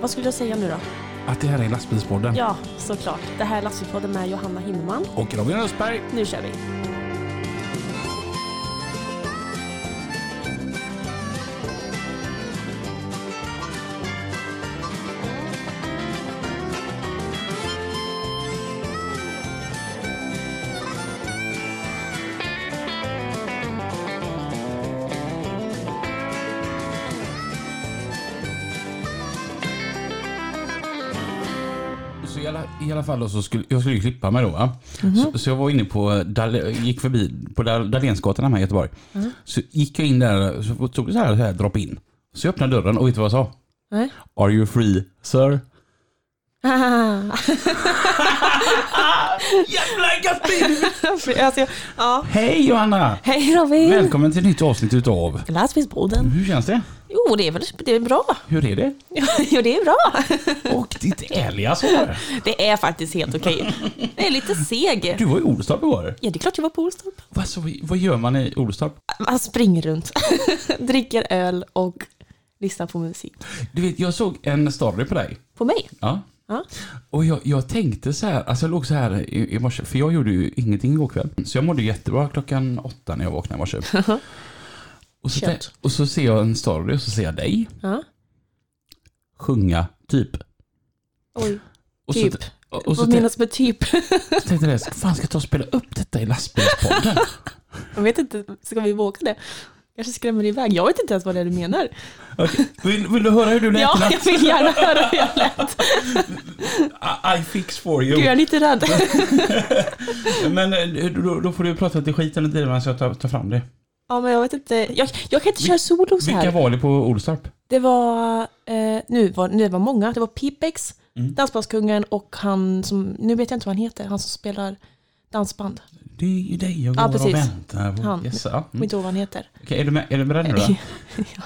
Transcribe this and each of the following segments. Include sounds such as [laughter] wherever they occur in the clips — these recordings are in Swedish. Vad skulle jag säga nu då? Att det här är lastbilspodden. Ja, såklart. Det här är Lastbilspodden med Johanna Himmelman. Och Robin Östberg. Nu kör vi! Så i, alla, I alla fall då så skulle jag skulle ju klippa mig då. Va? Mhm. Så, så jag var inne på, Dahl, gick förbi på Dahl- Dahlénsgatan här i Göteborg. Mhm. Så gick jag in där så tog det så här, så här drop in. Så jag öppnade dörren och vet du vad jag sa? Nej. Are you free sir? Jävla gött! alltså, jag- ja. Hej Johanna! Hej Robin! Välkommen till ett nytt avsnitt utav Lastbilspodden. Hur känns det? Jo, det är väl det är bra. [laughs] Hur är det? jo, det är bra. Och ditt ärliga svar. Det är faktiskt helt okej. Det är lite seg. Du var i Olstorp igår. Ja, det är klart jag var på Olstorp. Vad, så, vad gör man i Olstorp? Man springer runt, [laughs] dricker öl och lyssnar på musik. Du vet, jag såg en story på dig. På mig? Ja. Ja. Och jag, jag tänkte så här, alltså jag låg så här i, i morse, för jag gjorde ju ingenting igår kväll. Så jag mådde jättebra klockan åtta när jag vaknade i morse. och, så Kött. tä- och så ser jag en story och så ser jag dig ja. sjunga, typ. Oj. Och Typ. Så, t- och och så, Vad tä- menas med typ? så tänkte jag, fan ska jag ta och spela upp detta [laughs] i lastbilspodden? Jag vet inte, ska vi våga det? Kanske skrämmer iväg. Jag vet inte ens vad det är du menar. Okej, vill, vill du höra hur du lät? Ja, Nat? jag vill gärna höra hur jag lät. I, I fix for Gud, jag you. är lite rädd. Men eh, då, då får du prata till skiten under tiden så jag tar, tar fram det. Ja, men jag vet inte. Jag, jag kan inte köra solo så Vilka här. var det på Olstorp? Det var, eh, nu var, nu var många. Det var Pipex, Mm. Dansbandskungen och han som, nu vet jag inte vad han heter, han som spelar dansband. Jag Det är ju dig jag går Ja, precis. och väntar på. Han. Yes, ja. kommer mm. inte ihåg vad han heter. Okej, är du, med, är du beredd nu då? ja.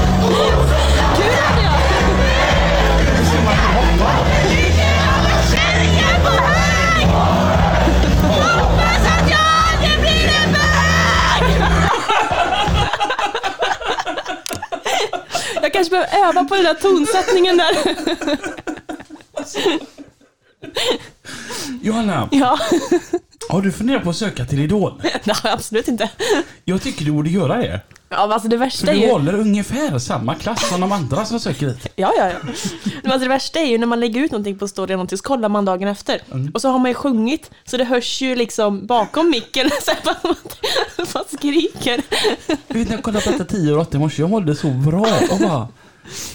Kul hade jag! [laughs] Jag kanske behöver öva på den där tonsättningen där. [laughs] Johanna, Ja, [laughs] har du funderat på att söka till Idol? nej absolut inte. Jag tycker du borde göra det. Ja, men alltså det värsta För är du ju... håller ungefär samma klass som de andra som söker dit. Ja, ja, ja. Men alltså det värsta är ju när man lägger ut någonting på story eller någonting så kollar man dagen efter. Och så har man ju sjungit så det hörs ju liksom bakom micken. [laughs] Så här, man, man skriker. Du vet när jag kollade på detta 10 och 8 i morse, jag mådde så bra och bara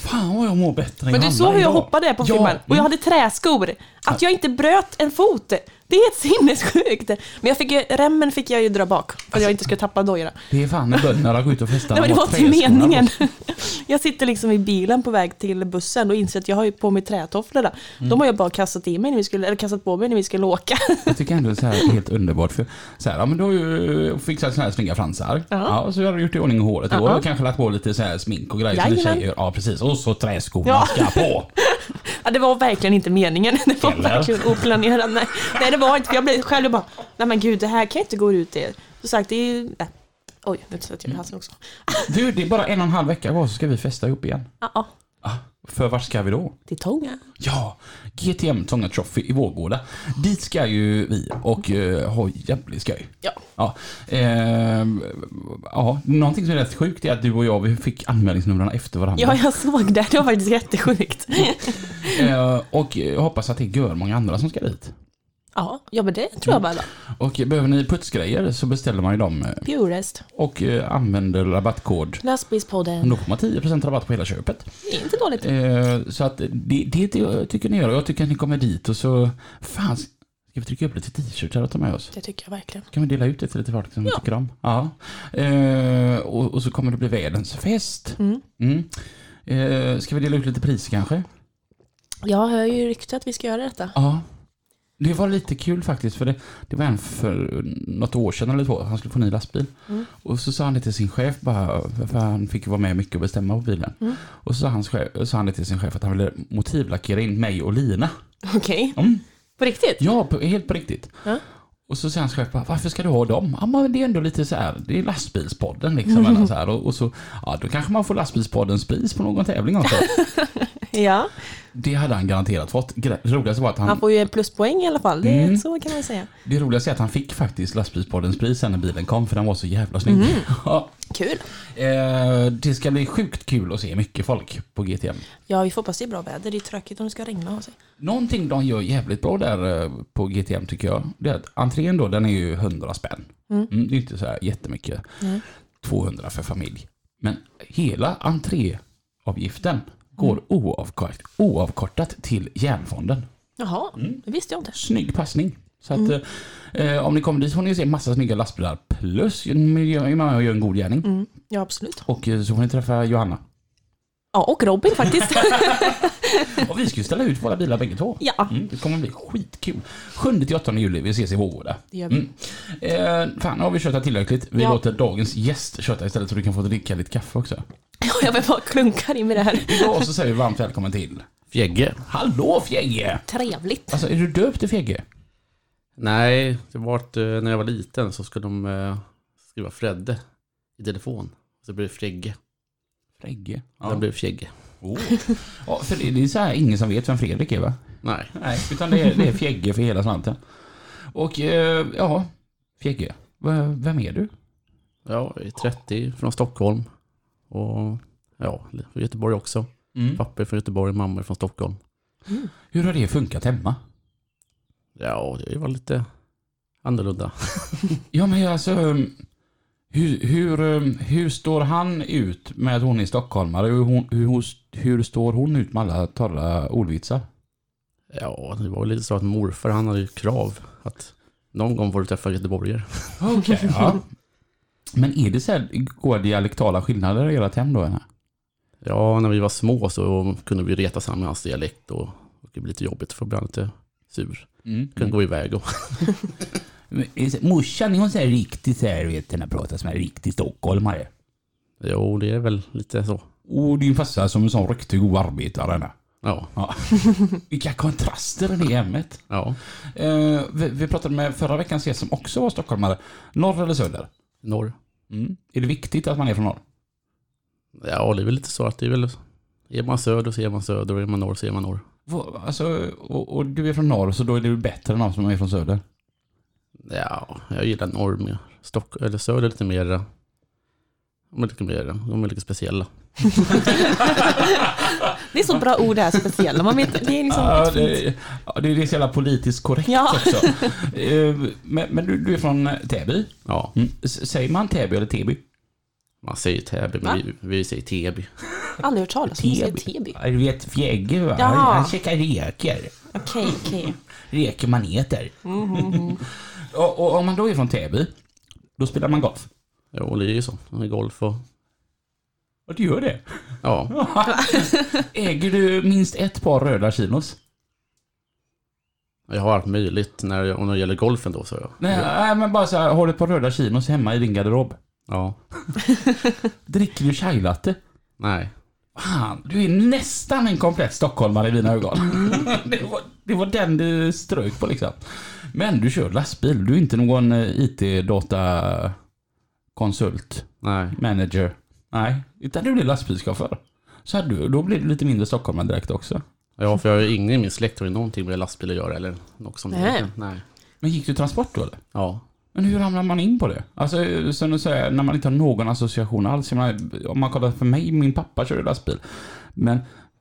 Fan vad jag mår bättre än Men du Johanna såg hur jag idag. mm. hoppade på filmen och jag hade träskor. Att jag inte bröt en fot, det är helt sinnessjukt. Men jag fick ju, remmen fick jag ju dra bak för att jag inte skulle tappa dojorna. Det är fan när bönderna går ut [laughs] och festar. Nej men det De var har inte träskorna meningen. på sig. [laughs] Jag sitter liksom i bilen på väg till bussen och inser att jag har ju på mig trätofflorna. De har jag bara kastat, i mig när vi skulle, eller kastat på mig när vi skulle åka. [laughs] Jag tycker ändå det är så här helt underbart. För så här, ja, men du har ju fixat såna här snygga fransar. Ja, och så har du gjort i ordning håret i år Ja. och kanske lagt på lite så här smink och grejer som Jajamän. du säger. Ja, precis. Och så träskorna Ja. ska på. Ja, det var verkligen inte meningen. [laughs] Det var Eller? verkligen oplanerat. Nej, nej det var inte. För jag blev själv jag bara, nej men gud det här kan jag inte gå ut i. Så sagt, det är ju... Nej. Oj, nu satt Mm. jag i halsen också. [laughs] Du, det är bara en och en halv vecka kvar så ska vi festa ihop igen. Ja, ja. För vart ska vi då? Till Tånga. Ja, GTM Tånga Trophy i Vårgårda. Dit ska ju vi och eh, ha jävligt skoj. Ja. Ja, eh, ja, någonting som är rätt sjukt är att du och jag vi fick anmälningsnumren efter varandra. ja, jag såg det. Det var faktiskt jättesjukt. Eh, och jag hoppas att det är gör många andra som ska dit. [laughs] Ja, ja men det tror jag bara. Och behöver ni putsgrejer så beställer man ju dem eh, Purest. och eh, använder rabattkod. Lastbilspodden. Då får man 10% rabatt på hela köpet. Det är inte dåligt. Eh, Så att det, det, det tycker ni gör. Jag tycker att ni kommer dit och så... Fan, ska vi trycka upp lite t-shirtar och ta med oss? Det tycker jag verkligen. Kan vi dela ut det till lite folk som Ja. vi tycker om? Ja. Eh, och, och så kommer det bli världens fest. Mm. Mm. Eh, ska vi dela ut lite priser kanske? Jag hör ju ryktet att vi ska göra detta. Ja. Det var lite kul faktiskt, för det, det var en för något år sedan eller två, han skulle få en ny lastbil. Mm. Och så sa han det till sin chef, bara, för han fick ju vara med mycket och bestämma på bilen. Mm. Och så sa, hans chef, sa han det till sin chef att han ville motivlackera in mig och Lina. Okej. Mm. På riktigt? Ja, på, helt på riktigt. Ja. Och så säger hans chef bara, varför ska du ha dem? Ja, men det är ändå lite så här, det är lastbilspodden liksom. Eller så här. Och, och så, ja, då kanske man får lastbilspoddens pris på någon [laughs] tävling också. Ja. det hade han garanterat fått. Gre- Det roligaste var att han, Han får ju en pluspoäng i alla fall, det, Mm. så kan man säga. det roligaste är att han fick faktiskt lastbilspoddens pris sen när bilen kom, för den var så jävla snygg. Mm. [laughs] Ja, Kul. eh, det ska bli sjukt kul att se mycket folk på GTM. Ja, vi får hoppas det är bra väder. Det är tråkigt om det ska regna av sig. Någonting de gör jävligt bra där eh, på GTM tycker jag, det är att entrén då, den är ju 100 spänn. Mm. det är inte så här jättemycket. 200 för familj. Men hela entréavgiften går oavkort, oavkortat till järnfonden. Jaha, det visste jag inte. Snygg passning. Så att, eh, om ni kommer dit får ni se massa snygga lastbilar plus miljö, man gör en god gärning. Ja, absolut. Och eh, så får ni träffa Johanna. Ja, och Robin [laughs] faktiskt. Och vi ska ju ställa ut våra bilar bägge två. ja, Mm, det kommer bli skitkul. 7-8 juli, vi ses i Vårgårda. det gör vi. Mm. Eh, fan, nu har vi tjötat tillräckligt. Vi Ja. låter dagens gäst köta istället så du kan få dricka lite kaffe också. Ja, jag vill bara klunkar in med det här. Idag så säger vi varmt välkommen till Fjägge? Hallå Fjägge! Trevligt. Alltså är du döpt till Fjägge? Nej, det var att, eh, när jag var liten så skulle de eh, skriva Fredde i telefon. Så blev det Fregge. Fregge? Ja. Det blev det Fjägge. Oh. ja för det, det är så här, ingen som vet vem Fredrik är va? Nej. Nej, utan det är, det är Fjägge för hela slanten. Och eh, ja, Fjägge. v- Vem är du? Ja, jag är 30, från Stockholm. Och ja, från Göteborg också. Pappa är från Göteborg, mamma är från Stockholm. Hur har det funkat hemma? Ja, det var lite annorlunda. Ja men alltså, um, hur, hur, um, hur står han ut med att hon är stockholmare? Hur, hon, hur, hon- hur står hon ut med alla torra ordvitsar? Ja, det var väl lite så att morfar han hade ju krav att någon gång får du träffa göteborgare. Okej. ja. Men är det så här, går dialektala skillnader i ert hem då? Eller? Ja, när vi var små så kunde vi reta samman med hans dialekt och, och det blev lite jobbigt för ibland lite sur. Kunde gå iväg och Men är det så- Morsan är hon så här riktigt så här, vet när pratar som en riktig stockholmare. Jo, det är väl lite så. Och din farsa som en sån riktig god arbetare. nä. Ja, Ja. Vilka kontraster det är i hemmet. ja. Eh, vi, vi pratade med förra veckans gäst som också var stockholmare. Norr eller söder? Norr. Mm. Är det viktigt att man är från norr? Ja, det är väl lite så att det är väl... Är man söder så är man söder och är man norr så är man norr. Vad- Alltså, och, och du är från norr så då är det bättre än någon som är från söder? Ja, jag gillar norr mer. Stock, eller söder lite mer... De är lite mer... De är lite speciella. Det är så bra ord det här speciella. Man vet, det är liksom Ja, det, ja, det är så jävla politiskt korrekt Ja. också. [laughs] Eh, men men du, du är från eh, Täby? Ja, Mm. S- Säger man Täby eller Täby? man säger Täby, men vi, vi säger Täby. aldrig hört talas om. Täby. Täby. Ja, Du vet Fjägge va? Ja. Han, han käkar reker. Okej, okej. Reker man äter. Mm-hmm. och, och om man då är från Täby, då spelar man golf. Jo, det är ju så. Det är golf och... Och du gör det? Ja, Äger du minst ett par röda kilos? jag har allt möjligt när, jag- om det gäller golfen då, så jag. Nej, nej men bara så här, har du ett par röda kilos hemma i din garderob? Ja, Dricker du chai latte? nej. Fan, du är nästan en komplett stockholmare i mina ögon. [laughs] Det var, det var den du strök på liksom. Men du kör lastbil, du är inte någon eh, IT-datakonsult, Nej, manager. Nej, utan du blir lastbilschaufför. Så här, du, då blir du lite mindre stockholmare direkt också. ja, för jag har ju ingen i min släkt har ju någonting med lastbil att göra eller något som Nej. Nej. Men gick du transport då eller? Ja, Men hur ramlar man in på det? Alltså, som du säger, när man inte har någon association alls. Jag menar, om man kollar för mig, min pappa körde lastbil. Men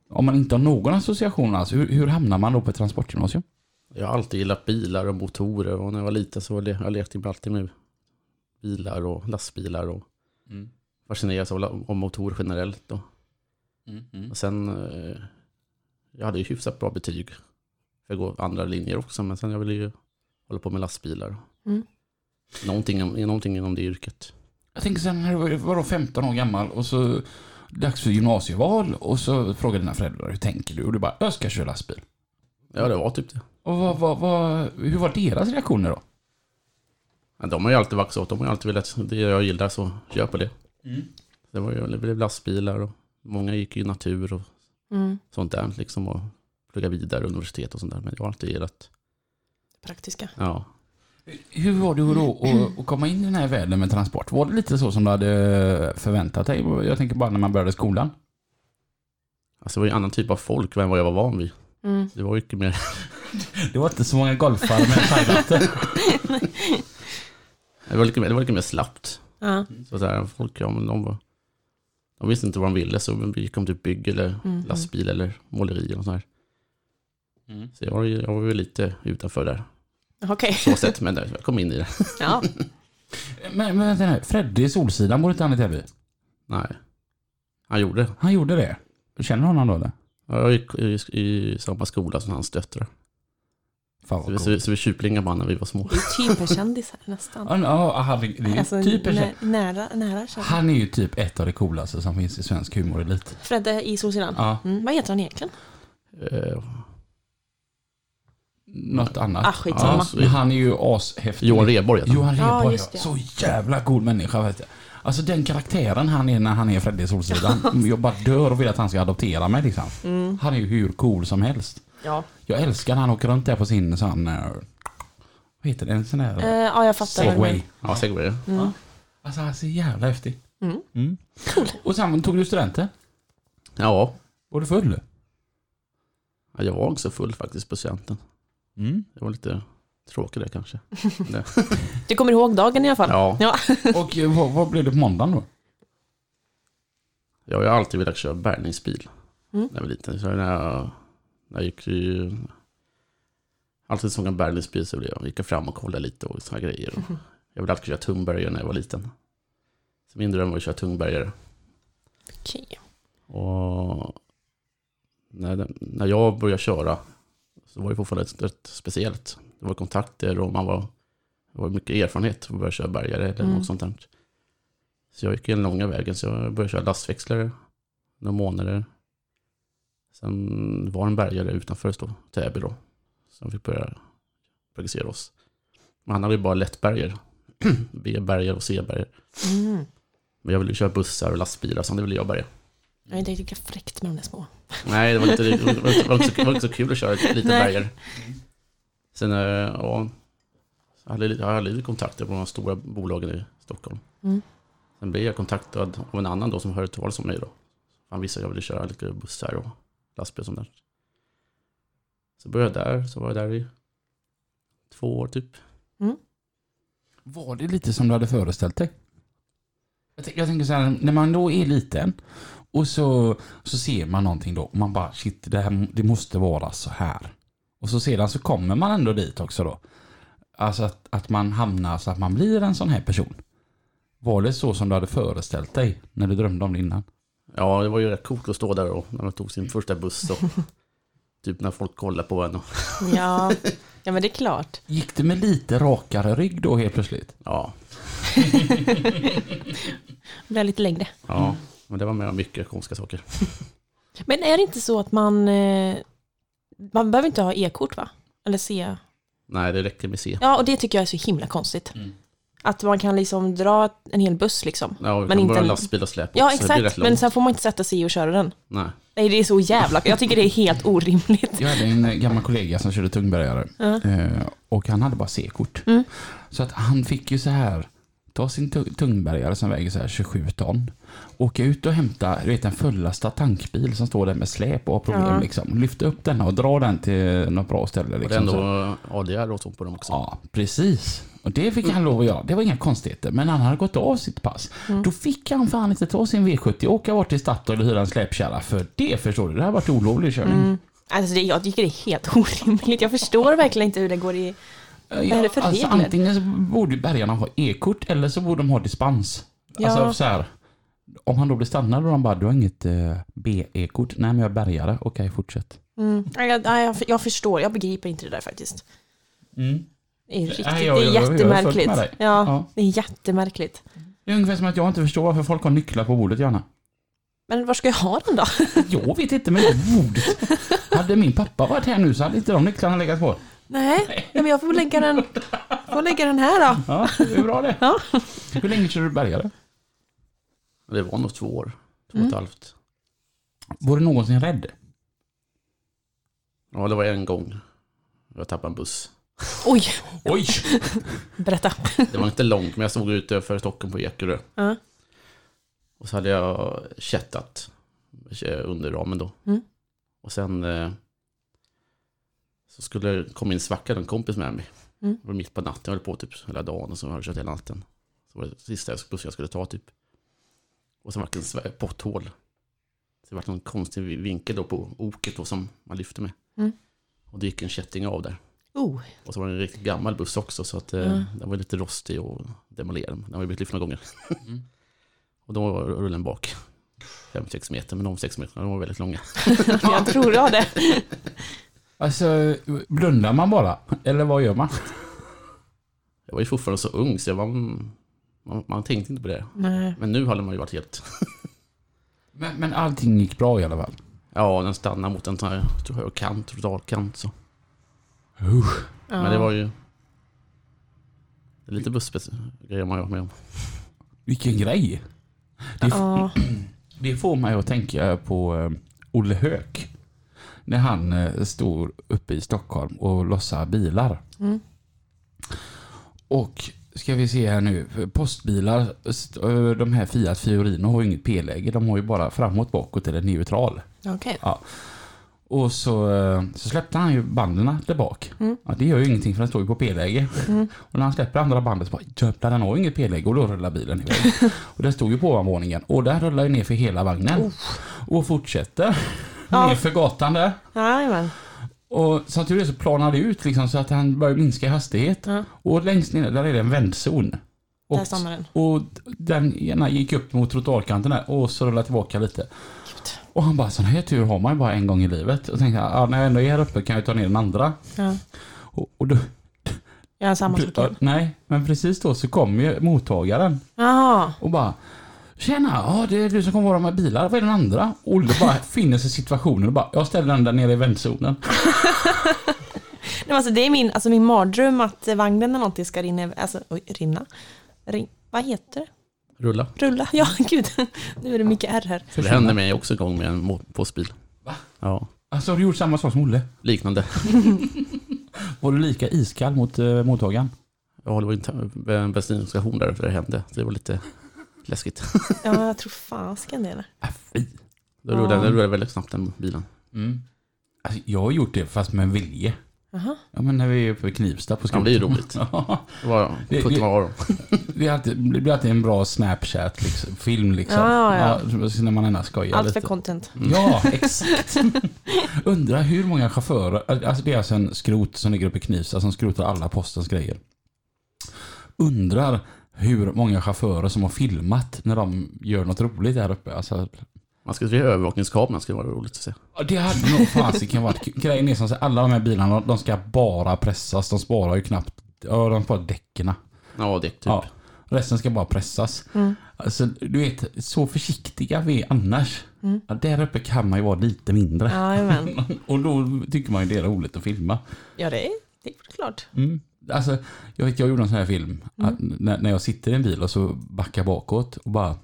om man inte har någon association alls, hur, hur hamnar man då på ett transportgymnasium? jag har alltid gillat bilar och motorer och när jag var liten så var det, jag lekte jag alltid med bilar och lastbilar och Mm. fascinerades av, la- av motor generellt. Då. Och sen, eh, jag hade ju hyfsat bra betyg för att gå andra linjer också, men sen jag ville ju hålla på med lastbilar. Mm. Någonting, om- någonting inom det yrket. Jag tänker sen när du var då 15 år gammal och så dags för gymnasieval och så frågar dina föräldrar hur tänker du? Och du bara, jag ska köra lastbil. Ja, det var typ det. Och vad, vad, vad, hur var deras reaktioner då? Men de har ju alltid vaxat åt, de har ju alltid velat det jag gillar så kör på det. Det, var ju, det blev lastbilar och många gick ju natur och Mm. sånt där liksom och plugga vidare universitet och sånt där. Men jag har alltid gillat, Praktiska. ja. Hur var det då att, att komma in i den här världen med transport? Var det lite så som du hade förväntat dig? Jag tänker bara när man började skolan. Alltså det var ju en annan typ av folk än vad jag var van vid. Mm. Det var ju mycket mer, [laughs] Det var inte så många golfare med thaivatten. det var lite mer, det var lite mer slappt. Ja. Så där, folk, ja men de var, de visste inte vad de ville så vi gick om typ bygg eller Mm. lastbil eller måleri eller sånt där. Mm. Så jag var, ju- jag var väl lite utanför där, Okej. så sett, men jag kom in i det. Ja. Men, men vänta nu, Freddy Solsidan bor inte han i Täby? Nej. Han gjorde det. Han gjorde det. Känner du honom då eller? Ja, Jag gick i, i samma skola som hans döttrar. Fan vad Så vi, så coolt. vi, så vi tjuplingade på honom när vi var små. Det är typ en kändis här nästan. Alltså, Ja, ja, han är- det är ju typ en nä- tjej. nära, nära kändis. Han är ju typ ett av det coolaste som finns i svensk humorelit. Fredde i Solsidan. Ja, Mm, vad heter han egentligen? Eh, något annat. Ah, skitsamma. Ja, så- han är ju ashäftig. Johan Rheborg heter han. Johan Ja, Rheborg, just ja. det. Så jävla cool människa. Vet jag. Alltså den karaktären han är när han är [laughs] Freddy Solsidan. jag bara dör och vill att han ska adoptera mig liksom. Mm. Han är ju hur cool som helst. Ja. Jag älskar när han åker runt där på sin sån... eh, Vad heter det? En sån där... Eh, ja, jag fattar. vad du Segway. menar. Ja, säkert var det. Alltså han är så jävla häftig. Mm. Mm. Och sen tog du studenten. Ja, Var du full? Ja, jag var också full faktiskt på studenten. Det var lite tråkigt där kanske. Du kommer ihåg dagen i alla fall? Ja, Ja. Och eh, vad, vad blev det på måndagen då? jag har ju alltid velat köra bärgningsbil. Mm. När jag var liten. Så när jag, när jag gick ju... Alltid såg en bärgningsbil så blev jag, gick jag fram och kollade lite och sådana grejer. Och Mhm. jag ville alltid köra tungbärgare när jag var liten. Så min dröm var att köra tungbärgare. Okej. Och när, den- när jag började köra så var det fortfarande ett- rätt speciellt. Det var kontakter och man var, det var mycket erfarenhet för att börja köra bärgare eller Mm. något sånt där. Så jag gick den långa vägen så jag började köra lastväxlare några månader. Sen var en bärgare utanför då, Täby då. Som fick börja progressera oss. Men han hade ju bara lättbärgare. [clears throat] B-bärgare och C-bärgare. Mm. Men jag ville ju köra bussar och lastbilar så det ville jag bärga. Jag vet inte riktigt lika fräckt med de där små. Nej, det var inte, det var inte, det var inte, så, det var inte så kul att köra ett litet Nej. bergare. Sen, eh, ja, jag hade, lite- jag hade lite kontakter på de stora bolagen i Stockholm. Mm. Sen blev jag kontaktad av en annan då som hörde talas om mig då. Han visste att jag ville köra lite bussar och lastbil och sånt där. Så började jag där, så var jag där i två år typ. Var det lite som du hade föreställt dig? Jag, tänk- jag tänker så här, när man då är liten och så, så ser man någonting då och man bara shit, det, här, det måste vara så här. Och så sedan så kommer man ändå dit också då. Alltså att, att man hamnar så att man blir en sån här person. Var det så som du hade föreställt dig när du drömde om det innan? Ja, det var ju rätt coolt att stå där då, när man tog sin första [laughs] buss och typ när folk kollade på en och Ja. ja, men det är klart. Gick det med lite rakare rygg då helt plötsligt? ja, Det blir lite längre. ja. Men det var med om mycket konstiga saker. Men är det inte så att man... eh, Man behöver inte ha e-kort va? Eller se... Nej, det räcker med C. Ja, och det tycker jag är så himla konstigt. Mm. Att man kan liksom dra en hel buss liksom. Ja, vi Men kan inte bara en- lastbil och släp Ja, också. Det blir exakt. liksom. rätt långt. Men sen får man inte sätta sig i och köra den. Nej. Nej, det är så jävla... Jag tycker det är helt orimligt. Jag hade en eh, gammal kollega som körde tungbärgare Ja. eh, och han hade bara C-kort. Mm. Så att han fick ju så här, ta sin tu- tungbärgare som väger så här 27 ton, åka ut och hämta du vet, en fullastad tankbil som står där med släp och har problem Ja. liksom. Lyfta upp den och dra den till något bra ställe. Och det är Liksom. Så- ändå ADR och sånt på dem också. Ja, precis. Och det fick han lov att göra. Det var inga konstigheter. Men han hade gått av sitt pass. Mm. Då fick han fan inte ta sin V70 och åka bort till Statoil och hyra en släpkärra. För det förstår du, det här varit olovlig körning. Alltså, det, jag tycker det är helt orimligt. Jag förstår verkligen inte hur det går i... Ja, är det för alltså, regler? antingen så borde bärgarna ha e-kort eller så borde de ha dispens. Ja. Alltså så här. Om han då blir stannad och de bara, du har inget eh, B-e-kort. Nej men jag är bärgare. Okej, fortsätt. Mm. Nej, Jag, nej, jag, jag förstår, jag begriper inte det där faktiskt. Det är, riktigt, Nej, jag- det är jag- jag är fullt jättemärkligt. med dig. ja, Ja. det är jättemärkligt. Det är ungefär som att jag inte förstår varför folk har nycklar på bordet gärna. Men var ska jag ha den då? Jag vet inte, men god. Hade min pappa varit här nu så hade inte de nycklarna legat på. Nej, nej, men jag får väl lägga den, får lägga den här då. Ja, det är bra det. Ja. Hur länge körde du bärgare? Det var nog två Mm. år. Två och ett halvt. Var du någonsin rädd? Ja, det var en gång. Jag tappade en buss. Oj, Oj! berätta. Det var inte långt, men jag stod ute för Stockholm på Ekerö. Ja. Och så hade jag chattat under ramen då. Mm. Och sen eh, så skulle det komma in svackan, en kompis med mig. Mm. Det var mitt på natten, jag höll på typ hela dagen och så hade jag kört hela natten. Så var det sista jag- bussen jag skulle ta typ. Och sen var det en sva- potthål. Så det var någon konstig vi- vinkel då på oket då som man lyfte med. Mm. Och det gick en kätting av där. Oh, Och så var det en riktigt gammal buss också så att eh, Mm. den var lite rostig och demolerad. Den har ju blivit lyft några gånger. [laughs] Mm. och då var rullen bak 5-6 meter, men de 6 meterna de var väldigt långa. [laughs] jag tror jag det. Alltså, blundar man bara? Eller vad gör man? Jag var ju fortfarande så ung så jag var, man, man tänkte inte på det. Nej. Men nu hade man ju varit helt... Men, men allting gick bra i alla fall. Ja, den stannade mot en sån här kant, trottoarkant så. Ja. Men det var ju... det är Lite bussgrejer man har varit med om. Vilken grej! Det, Mm. Ja. [clears throat] det får mig att tänka på eh, Olle Höök. När han eh, står uppe i Stockholm och lossar bilar. Mm. Och ska vi se här nu. Postbilar, st- eh, de här Fiat Fiorino har ju inget P-läge. De har ju bara framåt, bakåt eller neutral. Okej. Och så, eh, så släppte han ju banden där bak. Mm. Ja, det gör ju ingenting för den står ju på P-läge. Mm. Och när han släpper andra bandet så bara jävlar den har ju inget P-läge och då rullar bilen iväg. [laughs] och den stod ju på ovanvåningen och den rullar ju ner för hela vagnen. Och fortsätter Ja. [laughs] ner för gatan där. Jajamän. Och som tur är så planar det ut liksom så att han börjar minska i hastighet. Ja. Och längst ner där är det en vändzon. Och, Där stannar den. och den ena gick upp mot trottoarkanten där och så rullade tillbaka lite. Och han bara, sån här tur har man ju bara en gång i livet. Och tänkte, ah, när jag ändå är här uppe kan jag ta ner den andra. Ja. Och, och då, Jag är samma ja, sak. nej, men precis då så kom ju mottagaren Jaha. och bara Tjena, ja, det är du som kommer vara med bilar, vad är den andra? Olle bara finner sig i situationen och bara, jag ställer den där nere i vändzonen. Nej, men alltså, det är min, alltså, min mardröm att eh, vagnen eller någonting ska rinna. Alltså, oj, rinna? Ring, vad heter det? Rulla. Rulla? Ja, [laughs] gud. Nu är det mycket R här. Det hände mig också en gång med en må- postbil. Va? Ja, Alltså har du gjort samma sak som Olle? liknande. Var du lika iskall mot eh, mottagaren? Ja, det var ju en ta- en bensinstation där det hände. Så det var lite läskigt. Ja, jag tror fasken det. Eller? Äh, fy. Då rullade, Ja. den rullade väldigt snabbt den bilen. Mm. Alltså, jag har gjort det fast med en vilje. Jaha. Ja men när vi är på Knivsta på Ja, skolan. det är ju roligt. [laughs] Det var Det- 17 det- år. då. Det, är alltid, det blir alltid en bra Snapchat liksom, film liksom. Ja, ja, så när man ändå skojar Allt lite. för [laughs] content. [laughs] Ja, exakt. [laughs] Undrar hur många chaufförer, alltså det är alltså en skrot som ligger uppe i Knivsta som skrotar alla postens grejer. Undrar hur många chaufförer som har filmat när de gör något roligt här uppe. Alltså, Man ska se övervakningskameran, skulle vara roligt att se. Ja, Det hade nog fasiken varit kul. Grejen är som sagt, alla de här bilarna, de ska bara pressas. De sparar ju knappt, ja de sparar däcken. Ja, det är typ. Ja, resten ska bara pressas. Alltså, du vet, så försiktiga vi är annars. Ja, där uppe kan man ju vara lite mindre. Jajamän. Och då tycker man ju det är roligt att filma. Ja, det är, det är klart. Mm. Alltså, jag, vet, jag gjorde en sån här film. Att när, när jag sitter i en bil och så backar bakåt och bara...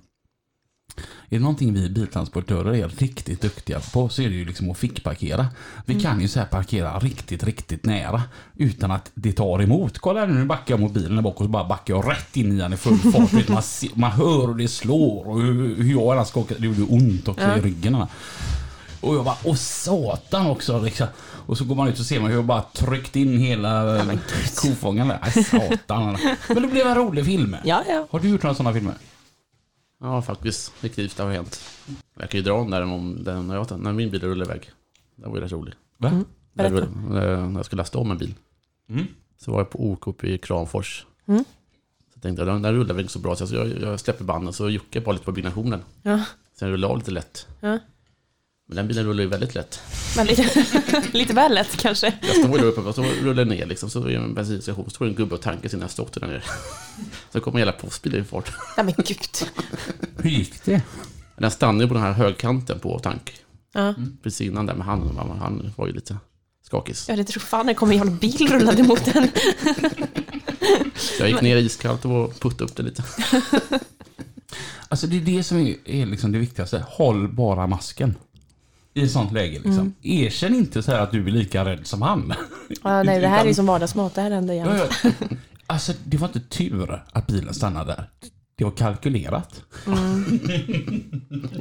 Är det någonting vi biltransportörer är riktigt duktiga på så är det ju liksom att fickparkera. Vi kan ju så här parkera riktigt, riktigt nära utan att det tar emot. Kolla här nu, nu backar jag mot bilen där bak och så bara backar jag rätt in i den i full fart. Vet, man, ser, man hör hur det slår och hur, hur jag än skakar. Det gjorde ont också i ryggen. Anna. Och jag bara, åh satan också liksom. Och så går man ut och ser man hur jag bara tryckt in hela ja, kofångaren där. Nej, satan. Men det blev en rolig film. Ja, ja. Har du gjort några sådana filmer? Ja, faktiskt. Det knivsta har hänt. Jag kan ju dra den där om den när, jag, när min bil rullade iväg. Det var ju rätt rolig. Va? När Berätta. jag- När jag skulle lasta om en bil. Mm. Så var jag på OK i Kramfors. Mm. Så tänkte jag, den där rullar väl inte så bra. Så jag, jag släpper banden så juckar jag bara lite på byggnationen. ja. Sen rullar jag av lite lätt. Ja. Men den bilen rullar ju väldigt lätt. Men lite, lite [laughs] väl lätt kanske. Jag står ju där uppe och så rullar jag ner liksom. Så är det en bensinstation. Så står det en gubbe och tankar sina stotter [laughs] där nere. Så kommer hela postbilen i fart. Nej men gud. Hur gick det? Men Den stannade ju på den här högkanten på tank. Ja. Precis innan där med handen. va, men Han var ju lite skakis. Ja, det tror fan det kommer en jävla bil rullade mot den. Så jag gick ner iskallt och puttade upp det lite. Alltså det är det som är, är liksom det viktigaste. Håll bara masken. I ett sånt läge liksom. Mm. Erkänn inte så här att du är lika rädd som han. Ja, nej, det här är ju som vardagsmat, det här händer Ja, jämt. ja. [laughs] Alltså det var inte tur att bilen stannade där. Det var kalkylerat. Nej,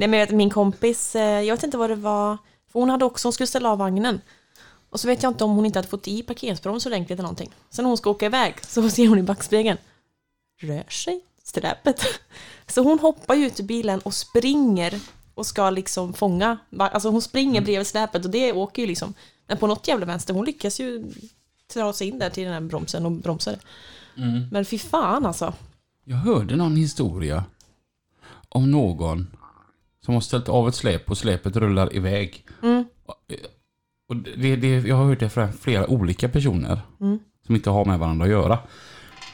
men jag vet, min kompis, eh, jag vet inte vad det var, för hon hade också, hon skulle ställa av vagnen. Och så vet jag inte om hon inte hade fått i parkeringsbroms ordentligt eller någonting. Sen när hon ska åka iväg så [laughs] ser hon i backspegeln, rör sig sträpet. [laughs] Så hon hoppar ju ut ur bilen och springer och ska liksom fånga, va- alltså hon springer bredvid släpet och det åker ju liksom. Men på något jävla vänster, hon lyckas ju ta sig in där till den här bromsen och bromsar. Men fy fan alltså. Jag hörde någon historia om någon som har ställt av ett släp och släpet rullar iväg. Och det, det, jag har hört det från flera olika personer som inte har med varandra att göra.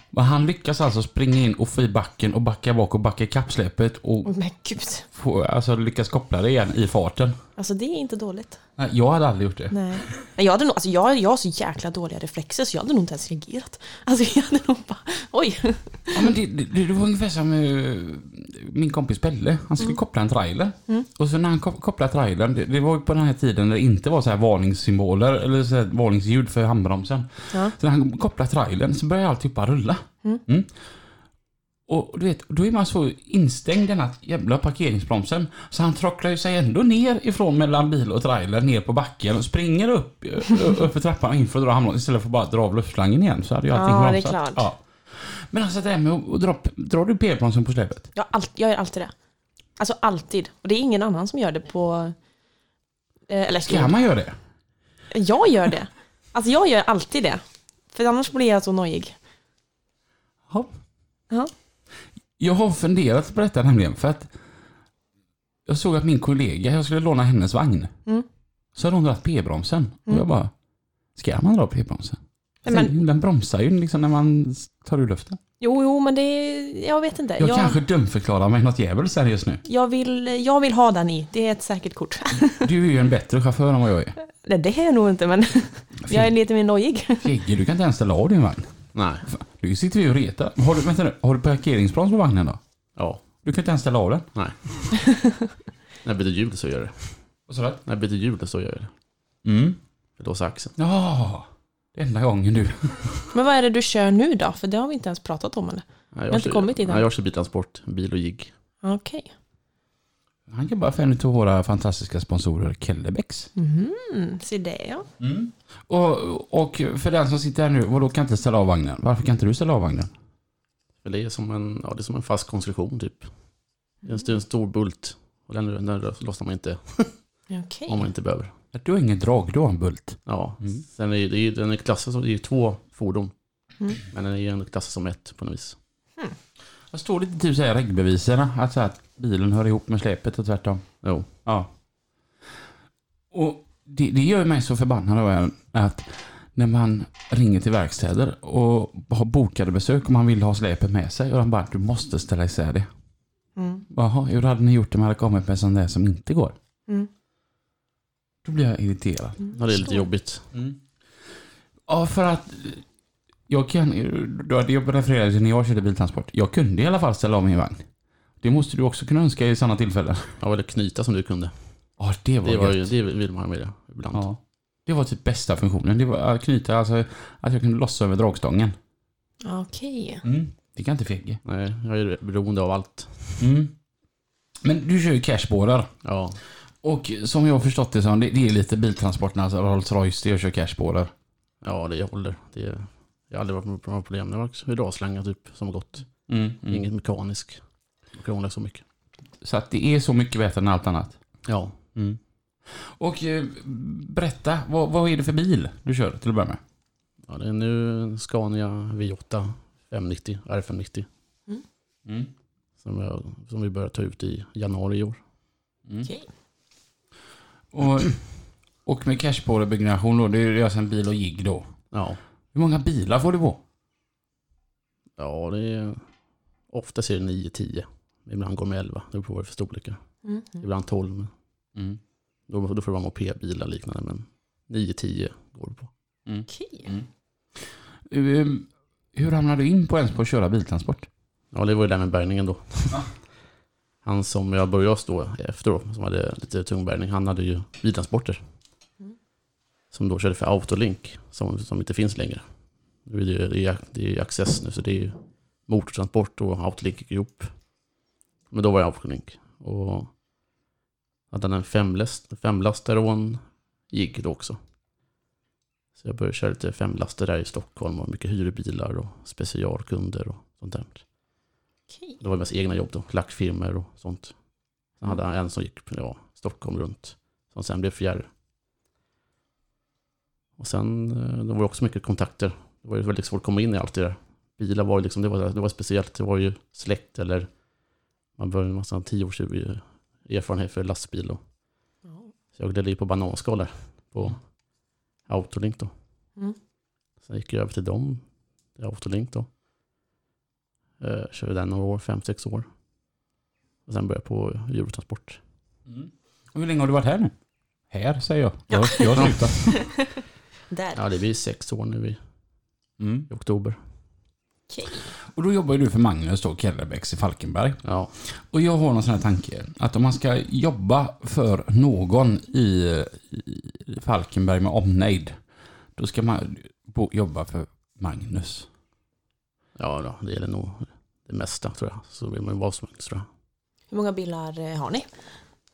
Men han lyckas alltså springa in och få i backen och backa bak och backa ikapp släpet och Men gud, få, alltså, lyckas koppla det igen i farten. alltså det är inte dåligt. Nej, jag hade aldrig gjort det. Nej. Men jag, hade nog, alltså jag, jag har så jäkla dåliga reflexer så jag hade nog inte ens reagerat. Alltså jag hade nog bara, oj. Ja, men det, det, det var ungefär som eh, min kompis Pelle. Han skulle koppla en trailer. Och så när han kop- kopplade trailern, det, det var ju på den här tiden när det inte var så här varningssymboler eller så här varningsljud för handbromsen. Ja. Så när han kopplade trailern så började alltid bara rulla. Mm. Och du vet, då är man så instängd i den här jävla parkeringsbromsen så han trocklar ju sig ändå ner ifrån mellan bil och trailer ner på backen och springer upp, ö- upp för trappan och in för att dra handbromsen istället för att bara dra av luftslangen igen så hade ju allting Ja, det är bromsat. klart. Ja. Men alltså det här med att dra, drar du p-bromsen på släpet? Jag, har all, jag gör alltid det. Alltså alltid. Och det är ingen annan som gör det på... eh, Eller Kan man göra det? jag gör det. Alltså jag gör alltid det. För annars blir jag så nojig. Ja. Ja. Jag har funderat på detta nämligen för att jag såg att min kollega, jag skulle låna hennes vagn. Mm. Så hade hon dragit p-bromsen och jag bara, ska man dra p-bromsen? Alltså, Nej, men- Den- Den bromsar ju liksom när man tar ur luften. Jo, jo, men det är... Jag vet inte. Jag, Jag, kanske dumförklarar mig något djävulskt här just nu. jag, vill, jag vill ha den i. Det är ett säkert kort. Du är ju en bättre chaufför än vad jag är. Nej, det är jag nog [laughs] inte, men jag är lite mer nojig. Jegge, du kan inte ens ställa av din vagn. Nej, Nu sitter vi och retar. Har du, vänta nu, har du parkeringsbroms på vagnen då? ja, Du kan inte ens ställa av den. [laughs] nej. När jag byter hjul så gör jag det. Vad sa du? När jag byter hjul så gör jag det. Mm. Jag låser axeln. Ja, det är enda gången du... Men vad är det du kör nu då? För det har vi inte ens pratat om eller? Nej, har inte kommit dit än. Nej, jag kör biltransport, bil och jigg. Okej. Han jobbar för en av våra fantastiska sponsorer, Kellebecks. Mm, se det ja. Och, och för den som sitter här nu, vadå kan inte ställa av vagnen? Varför kan inte du ställa av vagnen? För det, är som en, ja, det är som en fast konstruktion typ. Det är en stor, en stor bult. Och den, den lossnar man inte Okej. om man inte behöver. Du har ingen drag, du har en bult. Ja, Mm. sen är ju- det är, ju- den är klassad som, det är ju två fordon. Mm. Men den är ju ändå klassad som ett på något vis. Vad står det i typ såhär reggbeviserna? Att, så här, att bilen hör ihop med släpet och tvärtom. Jo, Ja. Och det, det gör mig så förbannad av en att när man ringer till verkstäder och har bokade besök och man vill ha släpet med sig och de bara du måste ställa isär det. Mm. Jaha, hur hade ni gjort om jag hade kommit med en sån där som inte går? Mm. Då blir jag irriterad. ja, det är lite Förstår. jobbigt. Ja, för att jag kan, då hade jag refererat till när jag körde biltransport. Jag kunde i alla fall ställa om min vagn. Det måste du också kunna önska i sådana tillfällen. Ja, eller knyta som du kunde. Ja, det var, Det, var gött. ju, det vill man ha med det ibland. Ja. Det var typ bästa funktionen. Det var att knyta, alltså att jag kunde lossa över dragstången. Okej. Mm. Det kan inte Fegge. Nej, jag är beroende av allt. Mm. Men du kör ju cashboardar. Ja, Och som jag har förstått det som, det, det är lite biltransporternas Rolls Royce, det är att köra cashboardar. ja det håller. Det är, jag har aldrig varit med på några problem. Det var också hydraulslangar typ som har gått. Mm, Inget mekanisk. Och Krånglar så mycket. Så att det är så mycket bättre än allt annat. Ja, Mm. Och eh, berätta, vad, vad är det för bil du kör till att börja med? ja det är nu en Scania V8 590, R590. Mm. Som, jag, som vi börjar ta ut i januari i år. Mm. Okej. Och, och med cashboardbyggnation då, det är alltså en bil och jigg då. Ja, Hur många bilar får du på? Ja, det är... Ofta är det 9-10. Ibland går det med 11. Det beror på vad det är för storlekar. Mm. Mm. ibland 12. Mm. Då, då får det vara mopedbilar och liknande, men 9-10 går det på. Mm. Okej. Ehm, Hur hamnade du in på ens på att köra biltransport? Ja, det var ju det där med bärgningen då. Han som jag började stå efter då, som hade lite tung bärgning, han hade ju biltransporter. Mm. Som då körde för Autolink, som, som inte finns längre. Nu är det, ju- det är, det är ju Access nu, så det är ju motortransport och Autolink gick ihop. Men då var jag Autolink. Och hade han en femlast, femlastare och en jigg då också. Så jag började köra lite femlaster där i Stockholm och mycket hyrbilar och specialkunder och sånt där. Okej. Det var mest egna jobb då, lackfirmor och sånt. Sen hade han en som gick ja, Stockholm runt, som sen blev fjärr. Och sen eh, det var det också mycket kontakter. Det var ju väldigt svårt att komma in i allt det där. Bilar var ju liksom, det var, det var speciellt, det var ju släkt eller man behövde en massa 10 års erfarenhet för lastbil. Och, Ja. så jag gled i på bananskal där, på Autolink då. Mm. Sen gick jag över till dem, till Autolink då. Eh, körde där några år, fem, sex år. Och sen började jag på djurtransport. Mm. Och hur länge har du varit här nu? Här säger jag. Jag, jag har slutat. Där. Ja, det blir sex år nu i, [laughs] Mm. i oktober. Okej. Och då jobbar ju du för Magnus då, Kellerbäcks i Falkenberg. Ja, Och jag har någon sån här tanke, att om man ska jobba för någon i, i Falkenberg med omnejd, då ska man bo, jobba för Magnus. ja då, det gäller nog det mesta tror jag. Så vill man ju vara som helst tror jag. Hur många bilar eh, har ni?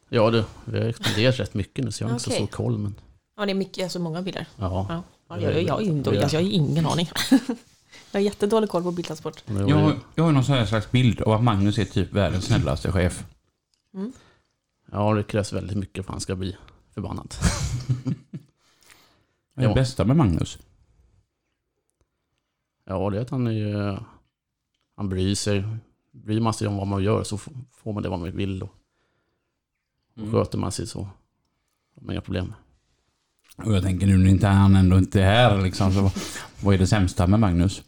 Ja du, vi har expanderat rätt mycket nu så jag har inte så Okej. stor koll men Ja, det är mycket, alltså många bilar. ja. Ja. Ja, jag, jag, jag, är ju inte- alltså, jag har ju ingen aning. [laughs] jag har jättedålig koll på [laughs] biltransport. Nu har vi- Jag, jag har någon sån här slags bild av att Magnus är typ världens snällaste chef. ja, det krävs väldigt mycket för att han ska bli förbannad. Det är det Ja. bästa med Magnus. Ja, det är att han är ju... Han bryr sig. Bryr man sig om vad man gör så f- får man det vad man vill. Och, och Mm. sköter man sig så har man inga problem. Och jag tänker nu när inte han ändå inte är här liksom, så vad är det sämsta med Magnus?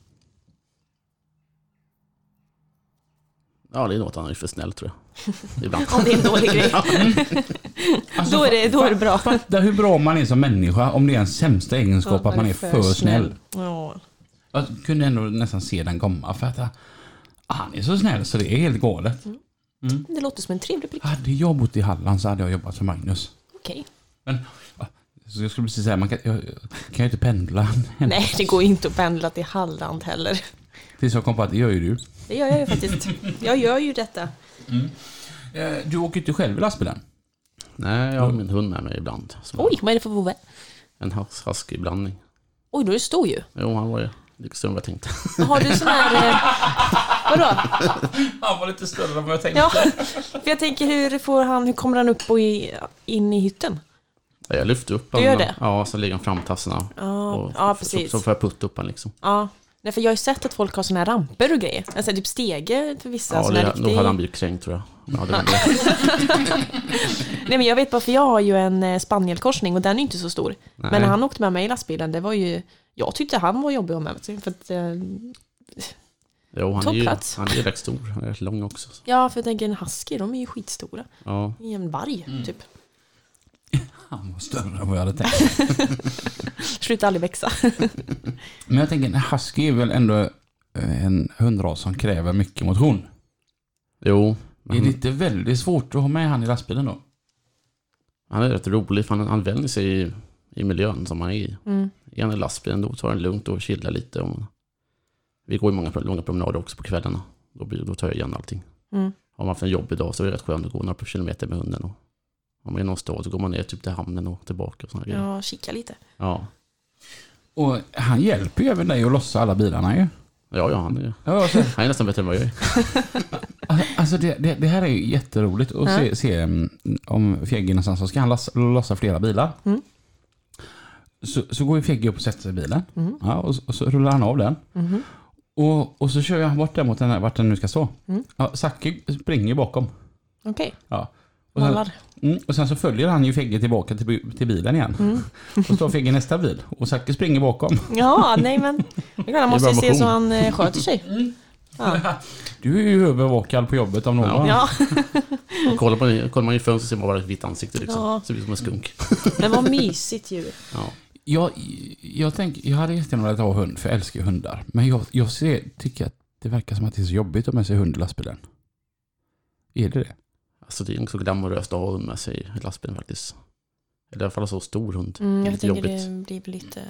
Ja, det är nog att han är för snäll tror [laughs] jag. Ibland. Om det är en dålig grej. Alltså, Då är det, då är det bra. Fatta hur bra man är som människa om det är ens sämsta egenskap att man är för snäll. Ja. Jag kunde ändå nästan se den komma för att ah, han är så snäll så det är helt galet. Det låter som en trevlig prick. Hade jag bott i Halland så hade jag jobbat för Magnus. Okej. Men ah, så jag skulle precis säga, man kan, jag, jag kan ju inte pendla hem. [laughs] Nej, det går inte att pendla till Halland heller. Tills jag kom på att det gör ju du. Det gör jag ju faktiskt. Jag gör ju detta. Eh, Du åker ju inte själv i lastbilen. Nej, jag har min hund med mig ibland. Som Mm. Oj, vad är det för vovve? En hus- huskyblandning. Oj, då är det stor ju. Jo, han var ju lika stor som jag tänkte. [laughs] Har du sån här... Eh, vadå? Han var lite större än vad jag tänkte. Ja, för jag tänker hur får han... Hur kommer han upp och i, in i hytten? Ja, Jag lyfte upp Du gör det? Ja, så lägger han framtassarna. Ja, Och ja så- precis. Så, så får jag putta upp han liksom. Ja. Nej, för jag har ju sett att folk har såna här ramper och grejer. Alltså typ stege för vissa. Ja, såna här det, då riktiga- hade han blivit kränkt tror jag. Ja, [laughs] det var det. Nej men jag vet bara för jag har ju en eh, spanielkorsning och den är ju inte så stor. Men när han åkte med mig i lastbilen, det var ju... Jag tyckte han var jobbig att ha med sig. För att, eh, Jo, han är ju Topplats. han är ju rätt stor. Han är rätt lång också. så- ja, för jag tänker en husky, de är ju skitstora. Ja. I en varg, typ. Han var större än vad jag hade tänkt. Slutar aldrig växa. [laughs] Men jag tänker en husky är väl ändå eh, en hundras som kräver mycket motion. Jo, men Är det inte väldigt svårt att ha med han i lastbilen då? Han är rätt rolig för han, han vänjer sig i, i miljön som han är i. Mm. Är han i lastbilen då tar han lugnt och chillar lite. Och vi går ju många långa promenader också på kvällarna. Då, blir, då tar jag igen allting. Mm. Har man haft en jobbig dag så är det rätt skönt att gå några kilometer med hunden. Och, om man är i någon stad så går man ner typ till hamnen och tillbaka och sådana grejer. Ja, kika lite. Ja. Och han hjälper ju även dig att lossa alla bilarna ju. Ja, ja, han är, Ja, alltså, han är nästan bättre än vad jag är. Alltså det, det, det här är ju jätteroligt att Ja. se, se mm, om Fjägge någonstans så ska han lossa, lossa flera bilar. Mm. Så, så går ju Fjägge upp och sätter sig i bilen. Mm. Ja, och, så- och så rullar han av den. Mhm. Och, och så kör jag bort den mot den här, vart den nu ska stå. Mm. Ja, Zacke springer ju bakom. Okej, Ja. Och, sen, mallar. mm, och sen så följer han ju Fjägge tillbaka till, bi- till bilen igen. Mm. [laughs] Och så tar Fjägge nästa bil och Zacke springer bakom. [laughs] Ja, nej men. Man Det är måste ju bara se så motion. han eh, sköter sig. Ja. Du är ju övervakad på jobbet om någon. ja. Och kollar, man, kollar man i fönstret ser man bara ett vitt ansikte liksom. Ja. Ser ut som en skunk. Men vad mysigt djur. Ja. Jag, jag, tänk, jag hade jättegärna velat ha hund, för jag älskar ju hundar. Men jag, jag ser, tycker att det verkar som att det är så jobbigt att ha med sig hund i lastbilen. Är det det? Alltså det är inte så glamoröst att ha hund med sig i lastbilen faktiskt. Eller i alla fall så stor hund. [laughs] Mm, jag Lite tänker jobbigt. det blir väl lite...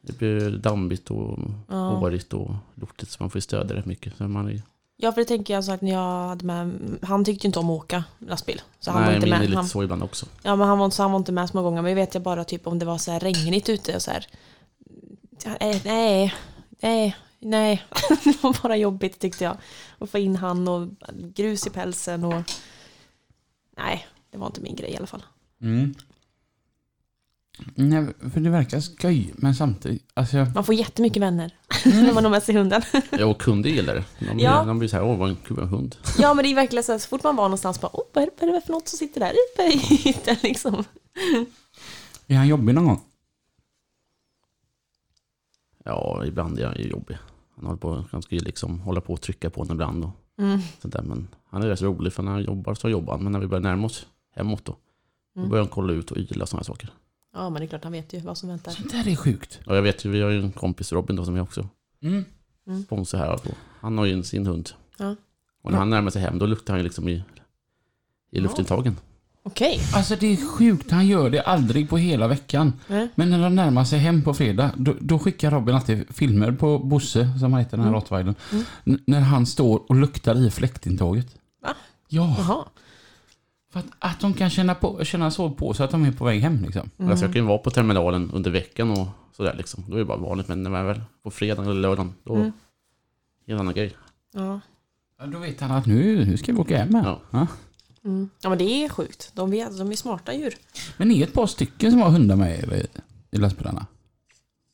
Det blir dammigt och Ja. hårigt och lortigt så man får ju stödja rätt mycket. Så man är, ja, för det tänker jag så att när jag hade med... Han tyckte ju inte om att åka lastbil. Så han var nej, inte min är med. lite Han, så ibland också. ja, men han, var, inte- så han var inte med så många gånger. Men vet jag bara typ om det var så här regnigt ute och så här... Nej, nej, nej. nej. [laughs] det var bara jobbigt tyckte jag. Att få in han och grus i pälsen och... Nej, det var inte min grej i alla fall. Mm. Nej, för det verkar skoj, men samtidigt, alltså jag... Man får jättemycket vänner [laughs] när man har med sig hunden. Ja, och kunder gillar det. De blir, Ja. de blir så här, åh vad en kul en hund. Ja men det är verkligen så, här, så fort man var någonstans bara, oh, vad är det- vad är det för något som sitter där uppe i hytten [laughs] liksom? Är han jobbig någon gång? Ja, ibland är han ju jobbig. Han, håller på, han ska ju liksom hålla på och trycka på en ibland och Mm. sånt där. Men han är rätt rolig för när han jobbar så jobbar han. Men när vi börjar närma oss hemåt då, då Mm. börjar han kolla ut och yla och sådana saker. Ja men det är klart han vet ju vad som väntar. Sånt där är sjukt. Och jag vet ju, vi har ju en kompis Robin då som är också Mm. sponsor här. Och han har ju sin hund. Ja. Och när han närmar sig hem då luktar han ju liksom i, i luftintagen. Okej. Alltså det är sjukt, han gör det aldrig på hela veckan. Nej. Men när de närmar sig hem på fredag, då, då skickar Robin alltid filmer på Bosse, som han heter, den här rottweilern. N- När han står och luktar i fläktintaget. Va? Ja, Jaha. för att, att de kan känna, på, känna så på sig att de är på väg hem liksom. Mm. Alltså jag kan ju vara på terminalen under veckan och sådär liksom. Då är det bara vanligt. Men när man är väl på fredag eller lördag då Mm. är det en annan grej. Ja. Ja, då vet han att nu, nu ska vi åka hem här. Ja. Ja. Mm. ja men det är sjukt. De, vet, de är smarta djur. Men ni är ett par stycken som har hundar med er i- i lastbilarna.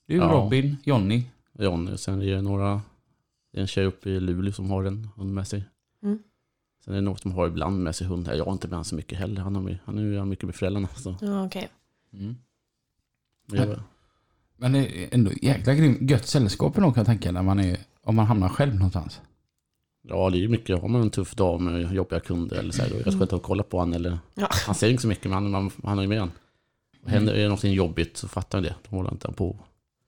Du, Ja. Robin, Johnny. Johnny. Och sen är det några, det är en tjej uppe i Luleå som har en hund med sig. Mm. Sen är det något som har ibland med sig hund här. Jag har inte med honom så mycket heller. Han, har, my- han är ju mycket med föräldrarna. Så. Ja okej. Men jag, Men det är ändå jäkla grym, gött sällskap ändå kan jag tänka när man är, om man hamnar själv någonstans. ja, det är ju mycket. Har man en tuff dag med jobbiga kunder eller så här, då är det skönt att kolla på honom. Eller, Mm. Ja. Mm. Han säger inte så mycket, men han, man, han är ju med honom. Och Händer det någonting jobbigt så fattar han det. Då håller han inte på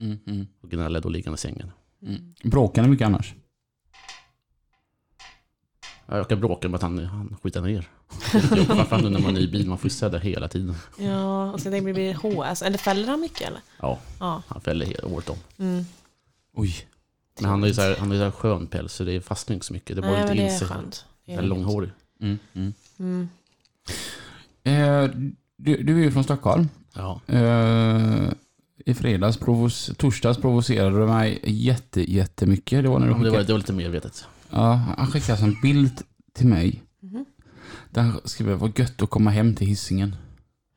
Mm, mm, och gnäller då ligger han i sängen. mm. Bråkar ni mycket annars? Ja, Jag kan bråka med att han, han skiter ner. Det är jobbigt, Framför allt nu när man är i bil, man får ju städa hela tiden. Ja och sen tänker jag, blir det HS. Eller fäller han mycket eller? Ja, Ja. han fäller hela året om. Mm. Oj. Men han har ju så här, han har ju så här skön päls så det fastnar ju inte så mycket. Det Nej borrar men inte det in är sig. skönt. Det Den är är lugnt. långhårig. Mm, mm. Mm. Eh, du, du är ju från Stockholm. Ja. Eh, I fredags, provos, torsdags provocerade du mig jätte, jättemycket. Det var när du Men Det var, skickade, det var lite medvetet. ja, han skickade en bild till mig. Mhm. Där han skrev vad gött att komma hem till hissingen.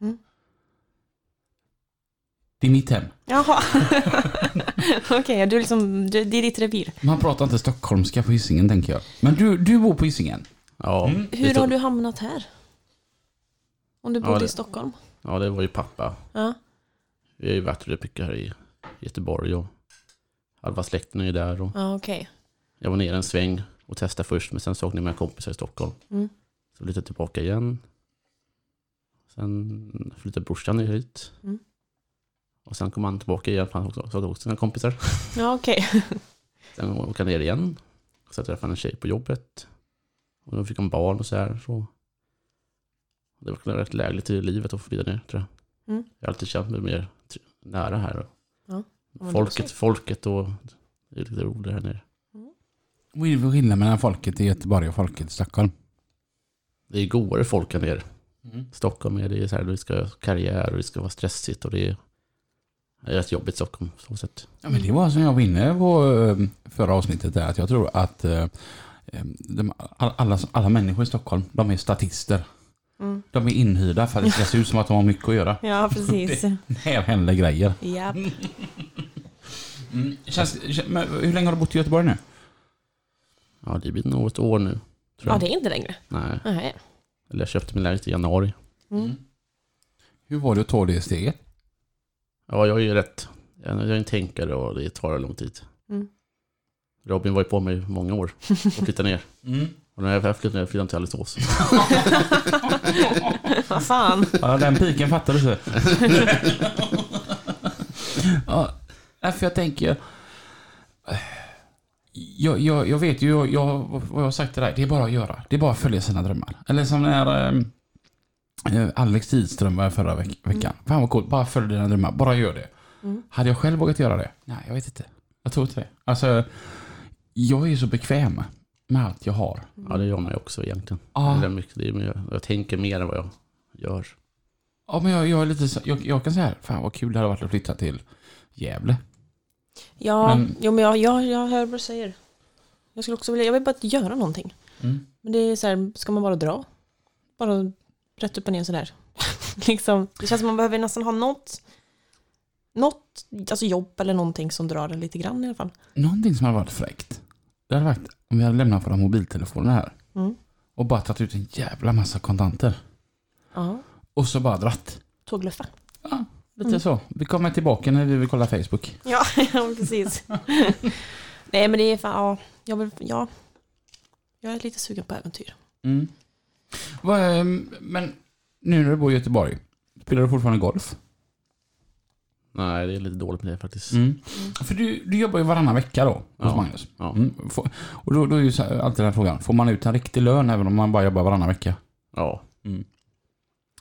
Mm. Det är mitt hem. Jaha. [laughs] okej, ja, du liksom, du, det är ditt revir. Man pratar inte stockholmska på hissingen tänker jag. Men du, du bor på hissingen. Ja, Hur det, har du hamnat här? Om du Ja, bodde i det- Stockholm? ja, det var ju pappa. Ja. Vi har ju varit rätt mycket här i Göteborg och halva släkten är ju där. Och Ja okej. jag var nere en sväng och testade först men sen saknade jag mina kompisar i Stockholm. Mm. Så flyttade jag tillbaka igen. Sen flyttade brorsan ner hit. Mm. Och sen kom han tillbaka igen för han också- saknade också sina kompisar. Ja okej. Sen åkte han ner igen. Så träffade han en tjej på jobbet. Och då fick han barn och så här. Så. Det var rätt lägligt i livet att få vidare ner tror jag. Mm. Jag har alltid känt mig mer tr- nära här. Ja, men det var Folket, så. folket och det är lite roligare här nere. Vad är det för skillnad mellan folket i Göteborg och folket i Stockholm? Det är godare folk här nere. Mm. Stockholm är det så här, vi ska ha karriär och det ska vara stressigt och det är, det är rätt jobbigt Stockholm på så sätt. Ja, men det var som jag var inne på eh, förra avsnittet där, att jag tror att eh, eh, de, all- alla, alla människor i Stockholm, de är statister. Mm. De är inhyrda för att det ska se ut som att de har mycket att göra. [laughs] Ja precis. Här händer grejer. Japp. Mm. Känns, kän- men hur länge har du bott i Göteborg nu? Ja, det blir nog ett år nu. Tror jag. Ja det är inte längre. Nej, Nej. eller jag köpte min lägenhet i januari. Mm. Hur var det att ta det steget? Ja, jag är ju rätt. Jag är en tänkare och det tar lång tid. Mm. Jag Robin var ju på mig i många år och flyttade ner. Mm. Och när jag flyttade ner flyttade jag till Alingsås. [laughs] Vad fan. Ja, den piken fattade du. [laughs] ja, nej, för jag tänker... Jag, jag, jag vet ju jag, jag, vad jag har sagt till dig. Det är bara att göra. Det är bara att följa sina drömmar. Eller som när ehm, eh, Alex Tidström var förra veck veckan. Fan vad coolt. Bara följ dina drömmar. Bara gör det. Hade jag själv vågat göra det? Nej, jag vet inte. Jag tror inte det. Alltså, jag är ju så bekväm med allt jag har. Ja, det gör man ju också egentligen. Ja. Det är mycket, det är, mer- jag tänker mer än vad jag gör. Ja, men jag, jag, är lite, så- jag, jag kan säga här, fan vad kul det hade varit att flytta till Gävle. Ja, Men- jo, men jag, jag, jag hör vad du säger. Jag skulle också vilja, jag vill bara göra någonting. Mm. Men det är så här, ska man bara dra? Bara rätt upp och ner sådär. [laughs] liksom, det känns som man behöver nästan ha något, något alltså jobb eller någonting som drar en lite grann i alla fall. Någonting som hade varit fräckt, det hade varit om vi hade lämnat våra mobiltelefoner här Mm. och bara tagit ut en jävla massa kontanter Ja, och så bara dratt. tågluffa. Ja, lite Mm. så. Vi kommer tillbaka när vi vill kolla Facebook. [laughs] Ja, ja, precis. [laughs] Nej, men det är fan, ja, jag vill, ja. Jag är lite sugen på äventyr. Mm. Vad, ehm, men nu när du bor i Göteborg, spelar du fortfarande golf? Nej, det är lite dåligt med det faktiskt. Mm. För du, du jobbar ju varannan vecka då, hos Ja. Magnus. Ja. Mm. Får- Och då, då är ju så här, alltid den här frågan, får man ut en riktig lön även om man bara jobbar varannan vecka? Ja.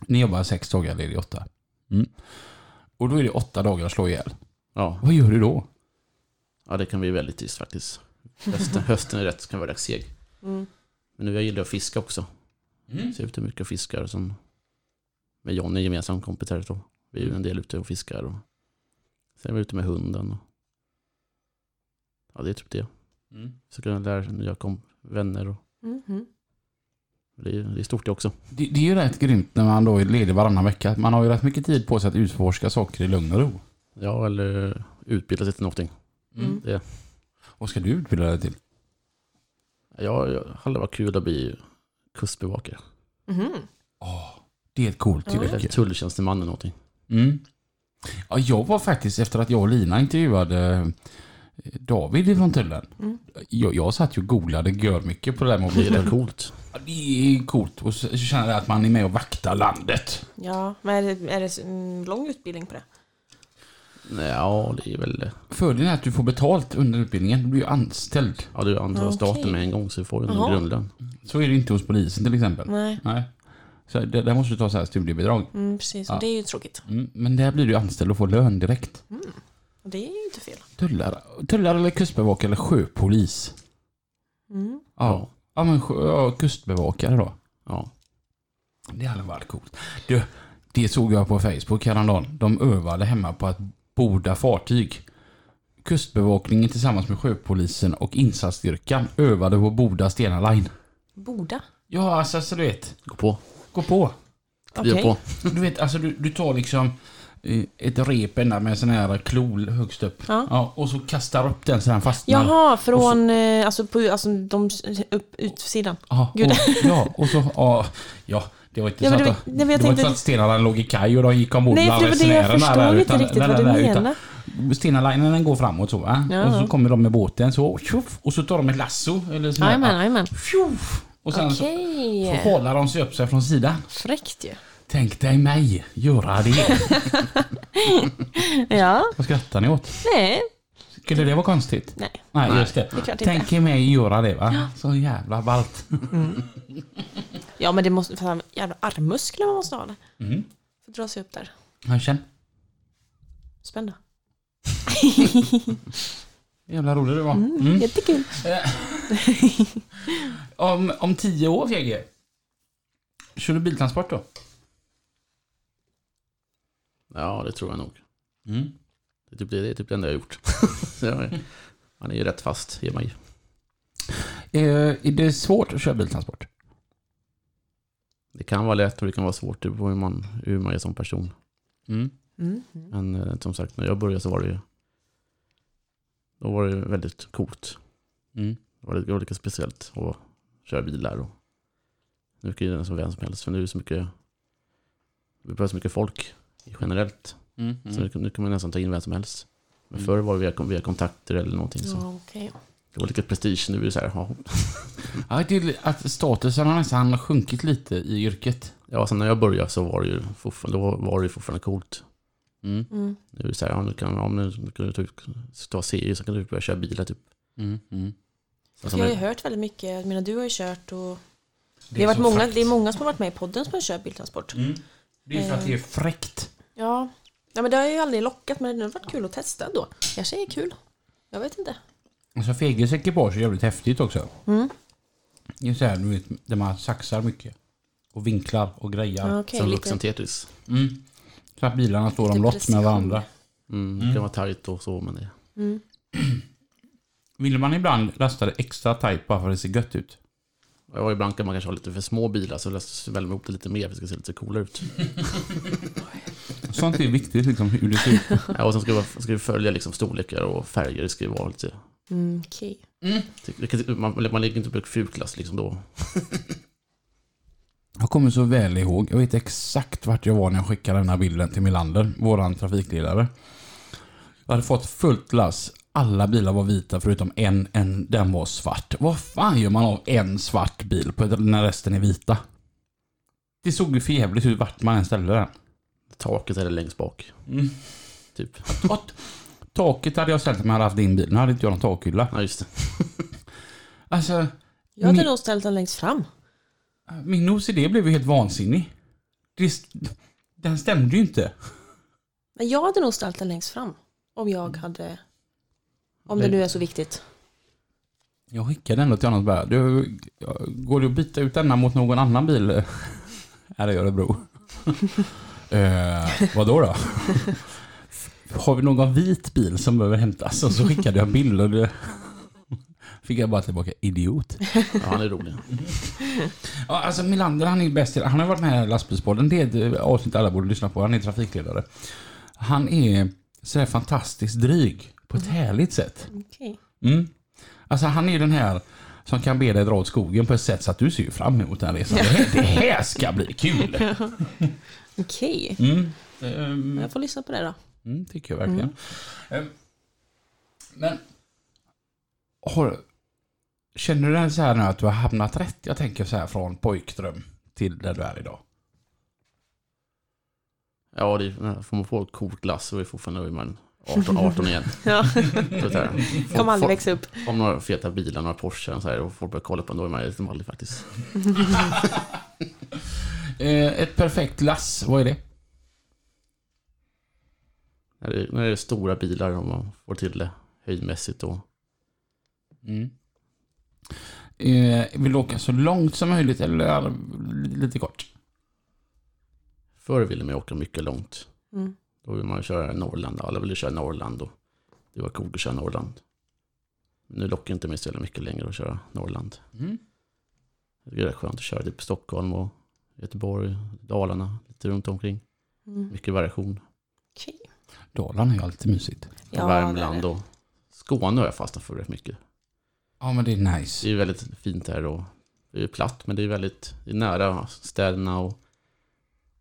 Ni jobbar sex dagar, ledig åtta. Mm. Och då är det åtta dagar att slå ihjäl. Ja. Vad gör du då? ja, det kan bli väldigt trist faktiskt. Hösten, hösten är rätt, kan vara rätt seg. Mm. Men nu jag gillar att fiska också. Så jag Typ. är ute mycket och fiskar. och Sen med Johnny, gemensam kompis här. Så vi är Mm. ju en del ute och fiskar. Och sen är vi ute med hunden. Och... Ja, det är typ det. Så kan jag lära nya kom- vänner. Och... Mhm. Det, är, det är stort det också. Det, det är ju rätt grymt när man då är ledig varannan vecka. Man har ju rätt mycket tid på sig att utforska saker i lugn och ro. Ja, eller utbilda sig till någonting. Mm. Det, Vad ska du utbilda dig till? ja, jag hade varit kul att bli kustbevakare. Mhm. Det är ett coolt Ja. Eller yrke. tulltjänsteman eller någonting. Mm. Ja, jag var faktiskt, efter att jag och Lina intervjuade eh, David från Tullen. Mm. Jag, jag satt ju och googlade görmycket på det där med att Det bli är rätt tull. coolt. Ja, Det är coolt. Och så så känner jag att man är med och vaktar landet. Ja, men är det, är det mm, lång utbildning på det? Nej, Ja, det är väl... Fördelen är att du får betalt under utbildningen. Du blir ju anställd. Ja, du antar Okej. staten med en gång så du får du Jaha. en grundlön. Så är det inte hos polisen till exempel. Nej, Nej. Så där, där måste du ta så här studiebidrag. mm, precis. Ja. Det är ju tråkigt. Mm, men där blir du anställd och får lön direkt. Och det är ju inte fel. Tullare, tullare eller kustbevakare eller sjöpolis? Mm. Ja. Ja men sjö, ja, kustbevakare då. Ja. Det hade varit coolt. Du, det såg jag på Facebook häromdagen. De övade hemma på att borda fartyg. Kustbevakningen tillsammans med sjöpolisen och insatsstyrkan övade på att borda Stena Line. Boda? Ja, alltså så du vet. Gå på. Gå på. Vi är på. Du vet, alltså du, du tar liksom eh, ett rep ända med en sån här klol högst upp. Ja. och så kastar upp den så den fastnar. Jaha, från eh, alltså, på, alltså de upp, utsidan. Ja, Gud. och, ja, och så... Ja, ja, det var inte Ja, så men att, det- det, nej, men jag var tänkte- inte så att stenarna låg i kaj och de gick ombord Nej, för det var det jag förstod inte riktigt vad du menar. Stenalinen den går framåt så va? Ja. Och så kommer de med båten så, tjoff, och så tar de ett lasso eller sån här, Jajamän, jajamän. tjoff, Och sen så, Okej. så halar de sig upp sig från sidan. Fräckt ju. Tänk dig mig göra det. Ja. Vad skrattar ni åt? Nej. Skulle det vara konstigt? Nej. Nej, Nej, just det. är klart inte. Tänk er mig göra det va? Så jävla ballt. Ja, men det måste... Fan, jävla armmuskler man måste ha. eller? Mm. För att dra sig upp där. Ja, Känn. Spända. Jävla rolig du var. Mm. [laughs] Jättekul. Om, om tio år Fjäger. Kör du biltransport då? Ja, det tror jag nog. Mm. Det är typ det, det, är typ det enda jag har gjort. [laughs] Så jag- Man är ju rätt fast i mig. Eh, är det svårt att köra biltransport? Det kan vara lätt och det kan vara svårt. Det beror på hur man, hur man är som person. Mm. Men eh, som sagt, när jag började så var det ju... Då var det väldigt coolt. Mm. Det var lite olika speciellt att köra bilar. Och nu kan ju den som vem som helst, för nu är det så mycket... Vi behöver så mycket folk generellt. Så nu, kan- nu kan man nästan ta in vem som helst. Men Mm. förr var det via, via kontakter eller någonting. Så. Ja, okej. Det var lite prestige, nu är det så här, ja. Ja, det är li- att statusen har nästan sjunkit lite i yrket. ja sen när jag började så var det ju fortfarande, då var det ju fortfarande coolt. Mm. Mm. Nu är det så här, ja, nu kan, ja, men nu kan du typ ta serier så kan du börja köra bilar typ. Alltså, Mm. Mm. Så För som jag har ju en, hört väldigt mycket. Jag menar, du har ju kört och... Det, har är varit så många, fräckt. det är många som har varit med i podden som har kört biltransport. Mm. Det är för att det är fräckt. Ja. ja, men det har jag ju aldrig lockat, men det har varit kul att testa då. kanske är kul. Jag vet inte. Alltså Feges ekipage är jävligt häftigt också. Mm. Det är så här, du vet, där man saxar mycket. Och vinklar och grejar. Ja, okej, som lite- vuxen Tetris. Mm. Så att bilarna står omlott precision. med varandra. Mm, Det kan vara tajt och så, men det... Mm. Vill man ibland lasta det extra tajt bara för att det ser gött ut? Ja, ibland kan man kanske ha lite för små bilar så väljer man ihop det lite mer för att det ska se lite coolare ut. Sånt är viktigt liksom, hur det ser ut. Ja, och sen ska vi, ska vi följa liksom storlekar och färger. Det ska ju vara lite... Mm, okej. det kan- Man, man ligger inte på fulklass liksom då. Jag kommer så väl ihåg. Jag vet exakt vart jag var när jag skickade den här bilden till Milander, våran trafikledare. Jag hade fått fullt lass. Alla bilar var vita förutom en, en den var svart. Vad fan gör man av en svart bil på, när resten är vita? Det såg ju för jävligt ut vart man än ställde den. Taket är det längst bak. Mm. Typ. Och, taket hade jag ställt om jag hade haft din bil. Nu hade inte jag någon takhylla. Ja, just det. Alltså, Jag hade Ni- nog ställt den längst fram. min OCD blev ju helt vansinnig. Det, den stämde ju inte. Men jag hade nog ställt den längst fram. Om jag hade... Om det Nej. nu är så viktigt. Jag skickade ändå till honom och bara, du, går det att byta ut denna mot någon annan bil [laughs] här i Örebro? [laughs] eh, vad då? [laughs] Har vi någon vit bil som behöver hämtas? Och så skickade jag en bild och det [laughs] fick jag bara tillbaka, idiot. Ja, han är rolig. Ja, alltså Milander han är ju bäst i Han har varit med i lastbilspodden. Det är ett eh, avsnitt alla borde lyssna på. Han är trafikledare. Han är sådär fantastiskt dryg på ett härligt sätt. Okej. Mm. Alltså han är ju den här som kan be dig dra åt skogen på ett sätt så att du ser ju fram emot den resan. Det här, det här ska bli kul! Okej. Mm. Ehm, Jag får lyssna på det då. Mm, tycker jag verkligen. Ehm, Men har, känner du dig så här nu att du har hamnat rätt? Jag tänker så här från pojkdröm till där du är idag. Ja, det är, får man få ett coolt glass så är fortfarande då är man 18, 18 igen. [laughs] Ja, Så så här, kommer aldrig folk- växa upp. Om några feta bilar, några Porsche och, så här, och folk börjar kolla på en, då är man lite mallig faktiskt. Eh, Ett perfekt lass, vad är det? När det, när det är stora bilar, om man får till det höjdmässigt då. Eh, Mm. Vill du åka så långt som möjligt eller lite kort? Förr ville man ju åka mycket långt. Mm. Då vill man ju köra Norrland. Alla ville köra Norrland och det var coolt att köra Norrland. Men nu lockar inte mig så jävla mycket längre att köra Norrland. Mm. Jag tycker det är skönt att köra typ Stockholm och Göteborg, Dalarna, lite runt omkring. Mm. Mycket variation. Okej. Dalarna är ju alltid mysigt. Ja, det är Värmland det. och Skåne har jag fastnat för rätt mycket. Ja men det är nice. Det är ju väldigt fint här och det är ju platt men det är väldigt det är nära städerna och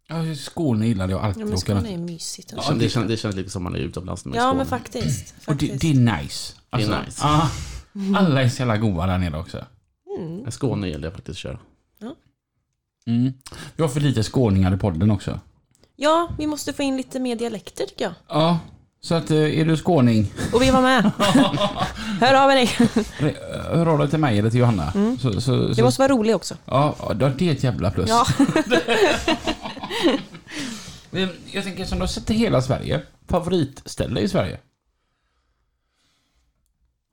Ja, Skåne gillade jag alltid Ja, men att åka Skåne runt. är mysigt. det, Alltså. känns, det, känns, det känns lite som man är utomlands med Ja, Skåne. men faktiskt. faktiskt. Och det, det är nice. Alltså, nice. ja, alla är så jävla goa där nere också. Mm. Men Skåne gäller det faktiskt att köra. Mm. Vi har för lite skåningar i podden också. Ja, vi måste få in lite mer dialekter tycker jag. Ja, så att eh, är du skåning, Och vi var med. Hör av dig. re- hör av dig till mig eller till Johanna. Mm. Så, så, Du så, måste vara rolig också. ja, ja, det är ett jävla plus. Ja. Men Jag tänker som du har sett i hela Sverige, favoritställe i Sverige?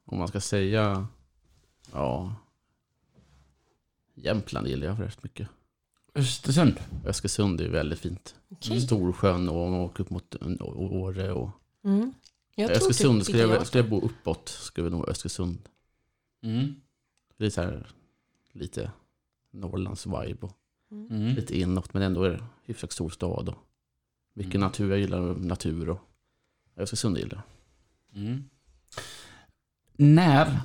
Om man ska säga, ja, Jämtland gillar jag rätt mycket. Östersund. Östersund är ju väldigt fint. [laughs] Okej. Storsjön och man åker upp mot Ö- Å- Åre och Mm. Jag tror Östersund. typ skulle, inte jag, jag. skulle jag bo uppåt skulle nog Östersund. Mm. Det är så här lite Norrlands vibe och Mm. lite inåt men ändå är det hyfsat stor stad och mycket Mm. natur. Jag gillar natur och Östersund gillar jag. Mm. När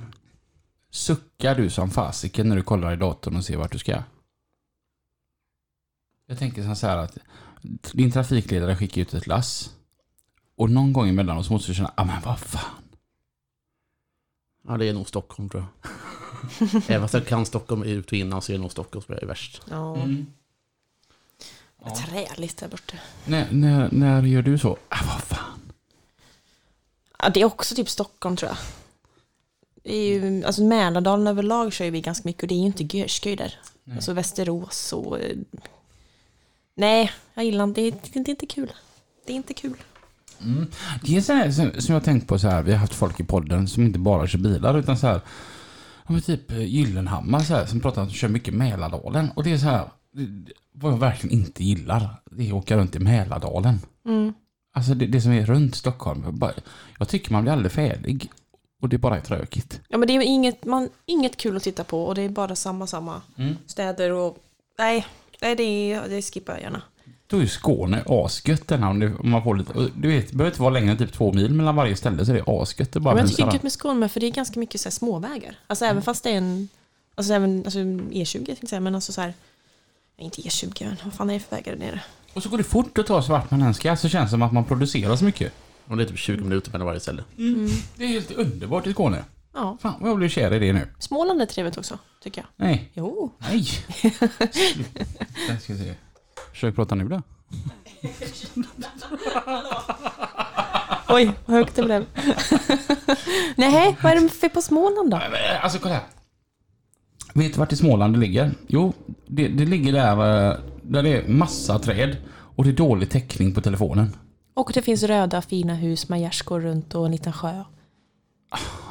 suckar du som fasiken när du kollar i datorn och ser vart du ska? Jag tänker som så här att din trafikledare skickar ut ett lass och någon gång emellanåt så måste du känna, ah men vad fan. Ja, det är nog [laughs] Stockholm tror jag. Även fast jag kan Stockholm ut och innan så är det nog Stockholm som är värst. Ja, Mm. Ja. träligt där borta. När, när, när gör du så? Ah, vad fan. Ja, det är också typ Stockholm tror jag. Det är ju, alltså Mälardalen överlag kör ju vi ganska mycket och det är ju inte görskoj där. Nej. Alltså Västerås och... eh, Nej, jag gillar inte, det, är- det är inte kul. Det är inte kul. Det är så här, som, som jag har tänkt på så här, vi har haft folk i podden som inte bara kör bilar utan så här, ja, men typ eh, Gyllenhammar så här, som pratar om att de kör mycket Mälardalen. Och det är så här, det- det- vad jag verkligen inte gillar, det är att åka runt i Mälardalen. Mm. Alltså det, det som är runt Stockholm, jag, bara, jag tycker man blir aldrig färdig. Och det bara är tråkigt. Ja, men det är ju inget, man, inget kul att titta på och det är bara samma, samma städer och... Nej, nej det, är- det skippar jag gärna. Då är ju Skåne asgött den här, om, det, om man får lite, och du vet, det behöver inte vara längre än typ två mil mellan varje ställe så det är asgött. Det bara Ja, men jag blir tycker så det är här- gött med Skåne med, för det är ganska mycket så här småvägar. Alltså även fast det är en, alltså även alltså E20 tänkte jag säga, men alltså så här, nej, inte E20, men vad fan är det för vägar där nere? Och så går det fort att ta sig vart man än ska, så alltså, känns det som att man producerar så mycket. Och det är typ 20 Mm. minuter mellan varje ställe. Det är helt underbart i Skåne. Ja, Fan vad jag blir kär i det nu. Småland är trevligt också, tycker jag. Nej, Jo. [laughs] nej. Där ska jag se. Försök prata nu då. Oj, vad högt det blev. [laughs] nej, vad är det för på Småland då? Alltså kolla här. Vet du vart i Småland det ligger? Jo, det, det ligger där, eh, där det är massa träd och det är dålig täckning på telefonen. Och det finns röda fina hus med gärdsgård runt och en liten sjö.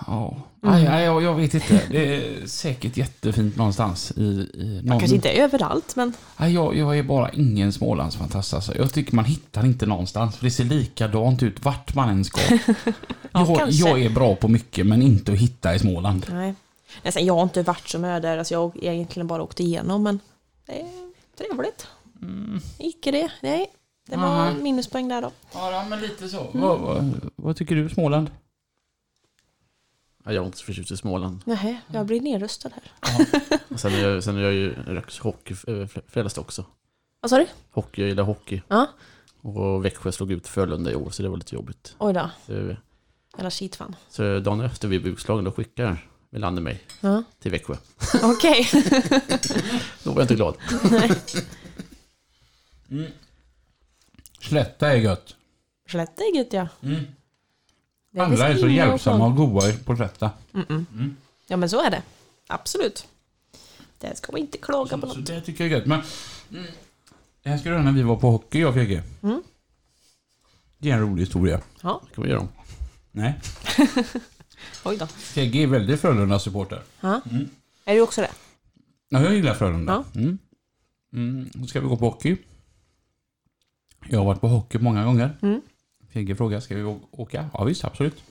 Ja, Mm. aj, aj, jag- jag vet inte. Det är säkert jättefint någonstans i, i någon... Kanske inte överallt, men Nej, jag, jag är bara ingen Smålandsfantast alltså. Jag tycker man hittar inte någonstans, för det ser likadant ut vart man [laughs] än ska. jag, kanske. jag är bra på mycket, men inte att hitta i Småland. nej. nej sen, jag har inte varit så mycket där, alltså jag har egentligen bara åkt igenom, men det är trevligt. Icke det, nej. Det var Mhm. minuspoäng där då. Ja, men lite så. Mm. Vad, vad, vad tycker du Småland? Ja, Jag är inte så förtjust i Småland. Nej, jag blir nedröstad här. Och sen är jag, sen är jag ju Röks hockeyfrälst också. Vad sa du? Hockey, jag gillar hockey. Ja. Och Växjö slog ut Frölunda i år, så det var lite jobbigt. Oj då, Så, jävla skitfan. så dagen efter vi blev utslagna, då skickar Melander mig Ja. till Växjö. [laughs] Okej. Då var jag inte glad. Slätta är gött. Slätt dig gud ja. Det Mm. Alla är så beskriver jag hjälpsamma Mm. fan. och goa på Slätta. Mm, Ja men så är det. Absolut. Det ska man inte klaga på Så något. det tycker jag är gött. Men, det här ska du höra när vi var på hockey, jag och Fegge. Mm. Det är en rolig historia. Ja, Det kan vi göra om. Nej. oj då. Fegge är väldigt Frölunda-supporter. Ja. Är du också det? Ja, jag gillar Frölunda. Mm. Mm. Då ska vi gå på hockey. Jag har varit på hockey många gånger. Mm. Fegge frågar, ska vi å- åka? Ja visst, absolut.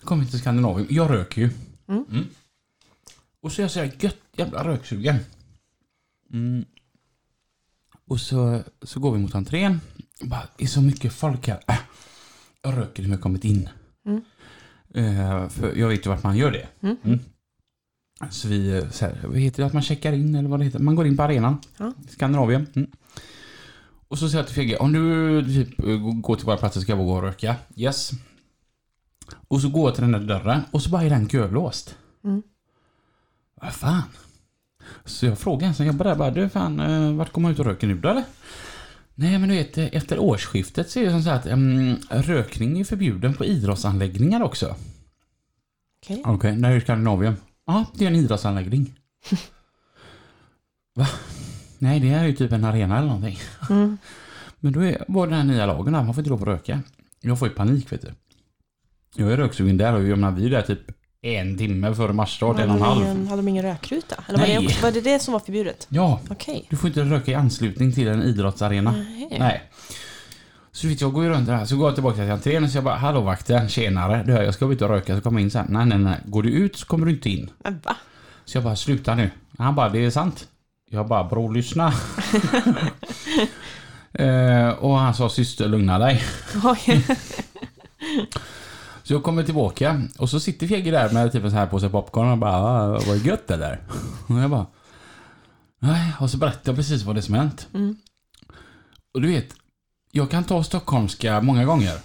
Då kommer vi till Skandinavien. Jag röker ju. Mm. Och så är jag så här gött jävla röksugen. Mm. Och så, så går vi mot entrén. Och Bara, det är så mycket folk här. Äh, Jag röker när jag kommit in. Mm. Eh, för jag vet ju vart man gör det. Mm. Så vi, eh, så här, vad heter det, att man checkar in eller vad det heter. Man går in på arenan. Ja. Skandinavien. Mm. Och så säger jag till Fegge, om du typ, eh, g- går till våra platser ska jag gå och röka. Yes. Och så går jag till den där dörren och så bara är den kölåst. Mm. Vad fan? Så jag frågar en som jobbar där bara, du fan, eh, vart går man ut och röker nu då eller? Nej men du vet, eh, efter årsskiftet så är det som så här att mm, rökning är förbjuden på idrottsanläggningar också. Okej. Okej, när är det i Skandinavien? Ja, det är en idrottsanläggning. Va? Nej, det är ju typ en arena eller någonting. Mm. Men då är, var den här nya lagen där, man får inte lov att röka. Jag får ju panik vet du. Jag är röksugen där och jag menar, vi är där typ en timme före matchstart, en och en Hade de halv. ingen- Hade de ingen rökruta? Eller var Nej. det, också, var det det som var förbjudet? Ja, Okej. du får inte röka i anslutning till en idrottsarena. Nej. Nej. Så vet jag går ju runt där, så går jag tillbaka till entrén och så jag bara Hallå vakten, tjenare. Du, jag ska ut och röka, så kommer jag in sen. Nej, nej, nej. Går du ut så kommer du inte in. Men va? Så jag bara, sluta nu. Han bara, det är sant. Jag bara, bror lyssna. eh, och han sa, syster lugna dig. Oj. Så jag kommer tillbaka och så sitter Fegge där med typ en sån här påse popcorn och bara, ah, vad gött det där. Och jag bara, nej. Och så berättar jag precis vad det som hänt. [laughs] Mm. Och du vet, jag kan ta stockholmska många gånger.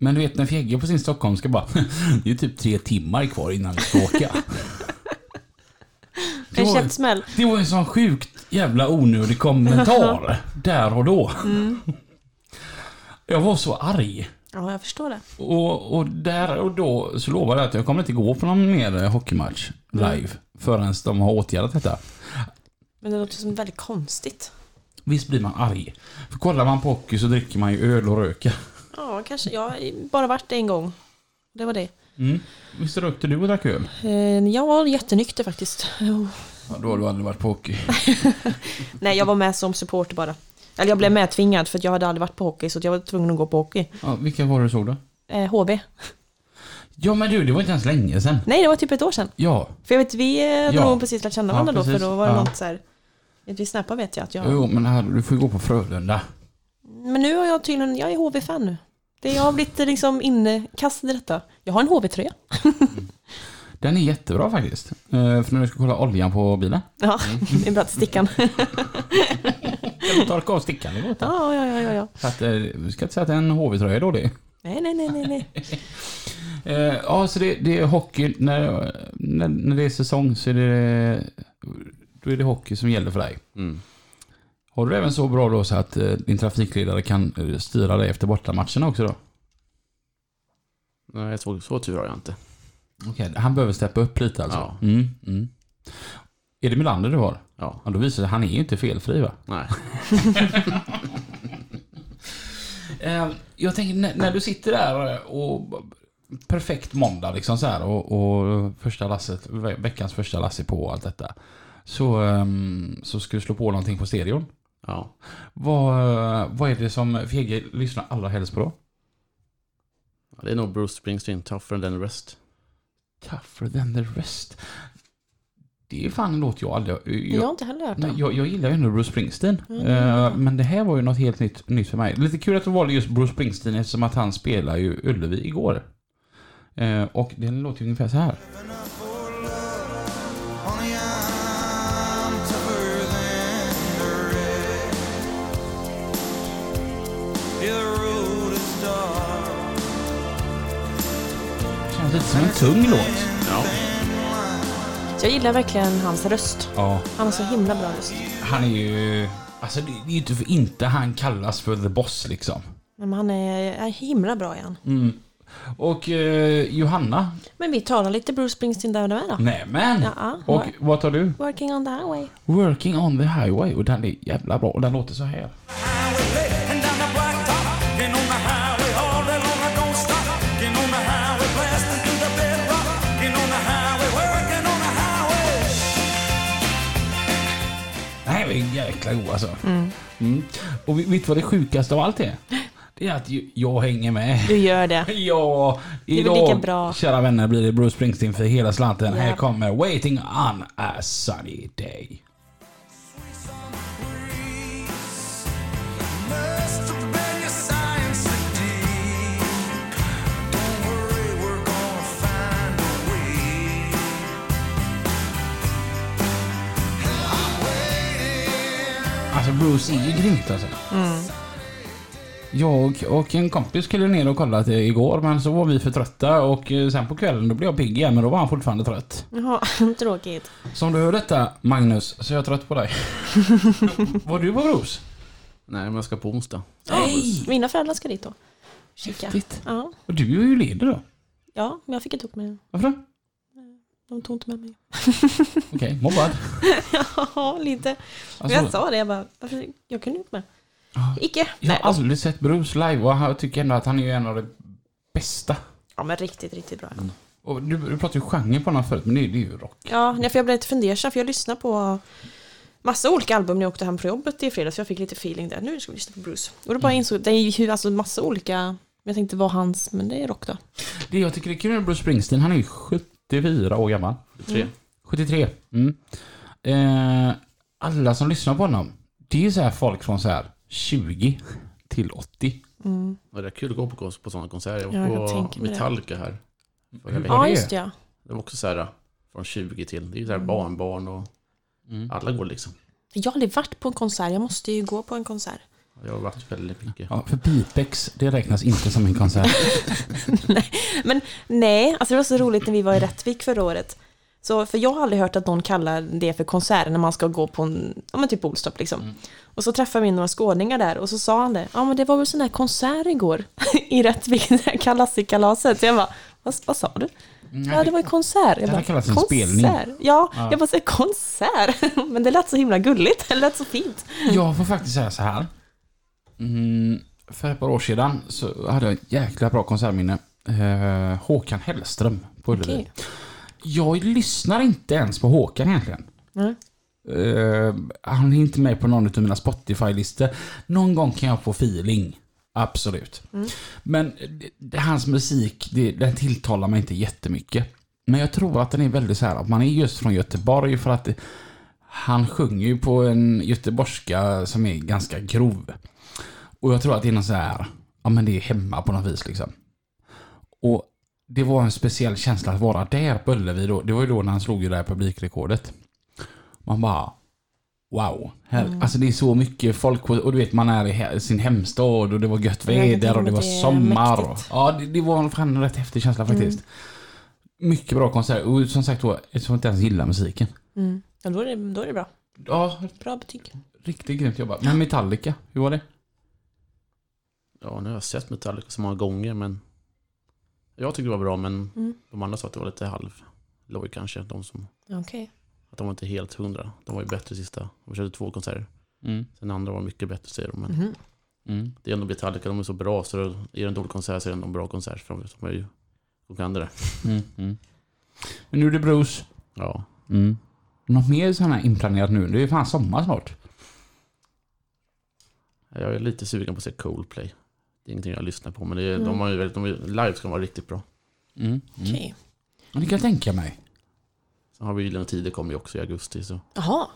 Men du vet när Fjegge på sin stockholmska bara, [laughs] det är typ tre timmar kvar innan vi ska åka. Det En var- käftsmäll. Det var en sån sjukt jävla onödig kommentar. där och då. Mm. Jag var så arg. Ja, jag förstår det. Och, och där och då så lovade jag att jag kommer inte gå på någon mer hockeymatch live förrän de har åtgärdat detta. Men det låter som väldigt konstigt. Visst blir man arg? För kollar man på hockey så dricker man ju öl och röker. Ja, kanske. Jag har bara varit det en gång. Det var det. Mm. Visst rökte du och drack öl? Eh, Jag var jättenykter faktiskt. Oh. Ja, då har du aldrig varit på [laughs] hockey. Nej, jag var med som supporter bara. Eller jag blev medtvingad för att jag hade aldrig varit på hockey så att jag var tvungen att gå på hockey. Ja, vilka var det du såg då? Eh, HB. Ja men du, det var inte ens länge sedan. Nej, det var typ ett år sedan. Ja, För jag vet, vi eh, hade Ja. nog precis lärt känna Ja, varandra då, precis. för då var det Ja. något så här... Vet vi snäppa vet jag att jag... jo men här, du får ju gå på Frölunda. Men nu har jag tydligen, jag är HV-fan nu. Det, jag har blivit liksom inkastad i detta. Jag har en HV-tröja. Den är jättebra faktiskt. Eh, för när du ska kolla oljan på bilen. Ja, Mm. det är bra att [laughs] stickan. Kan du torka av stickan i båten? Ja, ja, ja, ja, ja. Så att, eh, vi ska inte säga att en HV-tröja är dålig. Nej, nej, nej, nej, nej. Eh, ja, så det, det är hockey. När, när, när det är säsong så är det, då är det hockey som gäller för dig. Mm. Har du även så bra då så att eh, din trafikledare kan eh, styra dig efter bortamatcherna också då? Nej, så, så tur har jag inte. Okej, han behöver steppa upp lite alltså? Ja. Mm, mm. Är det Melander du har? Ja, Ja, då visar det sig, han är ju inte felfri va? nej. Eh, jag tänker när, när du sitter där och perfekt måndag liksom så här och, och första lasset, ve- veckans första lass är på och allt detta. Så, ehm, så ska du slå på någonting på stereon. Ja. Vad, eh, vad är det som Fege lyssnar allra helst på då? Ja, Det är nog Bruce Springsteen, Tougher than the rest. Tougher than the rest. Det är fan en låt jag aldrig... Jag Jag, har inte heller hört nej, den. jag, jag gillar ju ändå Bruce Springsteen. Mm. Eh, men det här var ju något helt nytt, nytt för mig. Lite kul att du valde just Bruce Springsteen eftersom att han spelar ju Ullevi igår. Eh, och den låter ju ungefär så här. Honey, I'm tougher than the rest. Yeah, the road is dark Känns lite som en tung låt. Ja. Jag gillar verkligen hans röst. Ja, Han har så himla bra röst. han är ju... Alltså det det är ju inte för inte han kallas för the boss liksom. Nej, Men han är, är himla bra igen. Och eh, Johanna? Men vi talar lite Bruce Springsteen där och där då. Nämen! Ja, ja. och vad tar du? Working on the highway. Working on the highway och den är jävla bra och den låter så här. highway, and down the blacktop. Getting on the highway all day long, I don't stop. Getting on the highway, blasting through the bedrock. Getting on the highway, working on the highway. Nej, men jäkla god alltså. Mm. Och vi- vet du vad det sjukaste av allt är? Det är att ju- jag hänger med. [laughs] Du gör det. [laughs] Ja, är väl idag lika bra. kära vänner blir det Bruce Springsteen för hela slanten. Här Ja. kommer Waiting on a sunny day. Must have been your science fatigue. Don't worry, we're gonna find a way. Alltså Bruce är ju grymt alltså. Mm. Jag och- och en kompis skulle ner och kolla till igår men så var vi för trötta och eh, sen på kvällen då blev jag pigg igen men då var han fortfarande trött. Jaha, tråkigt. Som du hör detta Magnus så är jag trött [laughs] på dig. var du på Bruce? Nej, men jag ska på onsdag. Nej! Mina föräldrar ska dit då. Kika. Häftigt. Ja, Och du är ju ledig då. ja, men jag fick inte upp mig. Varför då? De tog inte med mig. [laughs] Okej, mobbad. Ja, lite. Men Alltså, jag sa det, jag bara, varför, jag kunde inte med. Icke. jag Nej, har aldrig sett Bruce live och jag tycker ändå att han är ju en av de bästa. ja men riktigt, riktigt bra. Och du, du pratade ju genre på honom förut men det, är- det är ju rock. Ja, nej, för jag blev lite fundersam för jag lyssnade på massa olika album när jag åkte hem från jobbet i fredags. så Jag fick lite feeling där, nu ska vi lyssna på Bruce. Och då bara insåg, det är ju alltså massa olika, men jag tänkte vad hans, men det är rock då. Det jag tycker är kul med Bruce Springsteen, han är ju 74 år gammal. Tre. 73. Mm. Eh, alla som lyssnar på honom, det är ju så här folk från så här 20 till 80. Ja, det är kul att gå på, kons- på sådana konserter. Ja, Jag jag var tänker på mig det. Mm. Metallica här. förra Hur veckan. Ja, var det? just det, ja. Det var också så här från 20 till. Det är ju Mm. så här barnbarn och alla går liksom. Jag har aldrig varit på en konsert, jag måste ju gå på en konsert. Ja, Jag har varit väldigt mycket. Ja, för Pipex, det räknas inte som en konsert. Men nej, alltså det var så roligt när vi var i Rättvik förra året. Så, för jag har aldrig hört att någon kallar det för konsert när man ska gå på en, ja men typ Olstorp liksom. Mm. Och så träffade vi några skåningar där och så sa han det, ja men det var väl sån här konsert igår [laughs] i Rättvik, det här kalasikalaset. Så jag bara, vad, vad sa du? ja det var ju konsert. Jag Mm, det bara, här kallas en konsert? spelning. Ja, jag bara, så, konsert? [laughs] Men det lät så himla gulligt, [laughs] det lät så fint. Jag får faktiskt säga så här. Mm, för ett par år sedan så hade jag ett jäkla bra konsertminne. Eh, Håkan Hellström på Ullevi. Okej. Jag lyssnar inte ens på Håkan egentligen. Nej. Eh, han är inte med på någon av mina Spotify-listor. Någon gång kan jag få feeling. Absolut. Mm. Men det, det, hans musik, det, den tilltalar mig inte jättemycket. Men jag tror att den är väldigt så här, att man är just från Göteborg för att det, han sjunger ju på en göteborgska som är ganska grov. Och jag tror att det är någon så här, ja men det är hemma på något vis liksom. Och det var en speciell känsla att vara där på Ullevi då. Det var ju då när han slog ju det här publikrekordet. Man bara, wow. Här, Mm. Alltså det är så mycket folk och och du vet man är i he- sin hemstad och det var gött Jag kan tänka väder och det mig var det är sommar. Och, mäktigt. ja, det, det var en fan rätt häftig känsla faktiskt. Mycket bra konsert och som sagt då, eftersom jag inte ens gillar musiken. Mm. Ja, då är, det, då är det bra. Ja, Bra betyg. riktigt grymt jobbat. Men Metallica, hur var det? Ja, nu har jag sett Metallica så många gånger, men jag tyckte det var bra, men Mm. de andra sa att det var lite halvloj kanske. De som, Okej. att de var inte helt hundra. De var ju bättre sista. De körde två konserter. Mm. Sen andra var mycket bättre säger de. Men Mhm. Mm. det är ändå Metallica, de är så bra så är det en dålig konsert så är det ändå en bra konsert. För de är ju och andra. Mm. Men nu är det Bruce. Ja, Mm. Något mer sådana här inplanerat nu? Det är ju fan sommar snart. jag är lite sugen på att se Coldplay. Det är ingenting jag lyssnar på, men det är, Mm. de har ju väldigt, de är, live ska de vara riktigt bra. Okej. Ja, Det kan jag tänka mig. Sen har vi Gyllene Tider kommer ju också i augusti, så Jaha,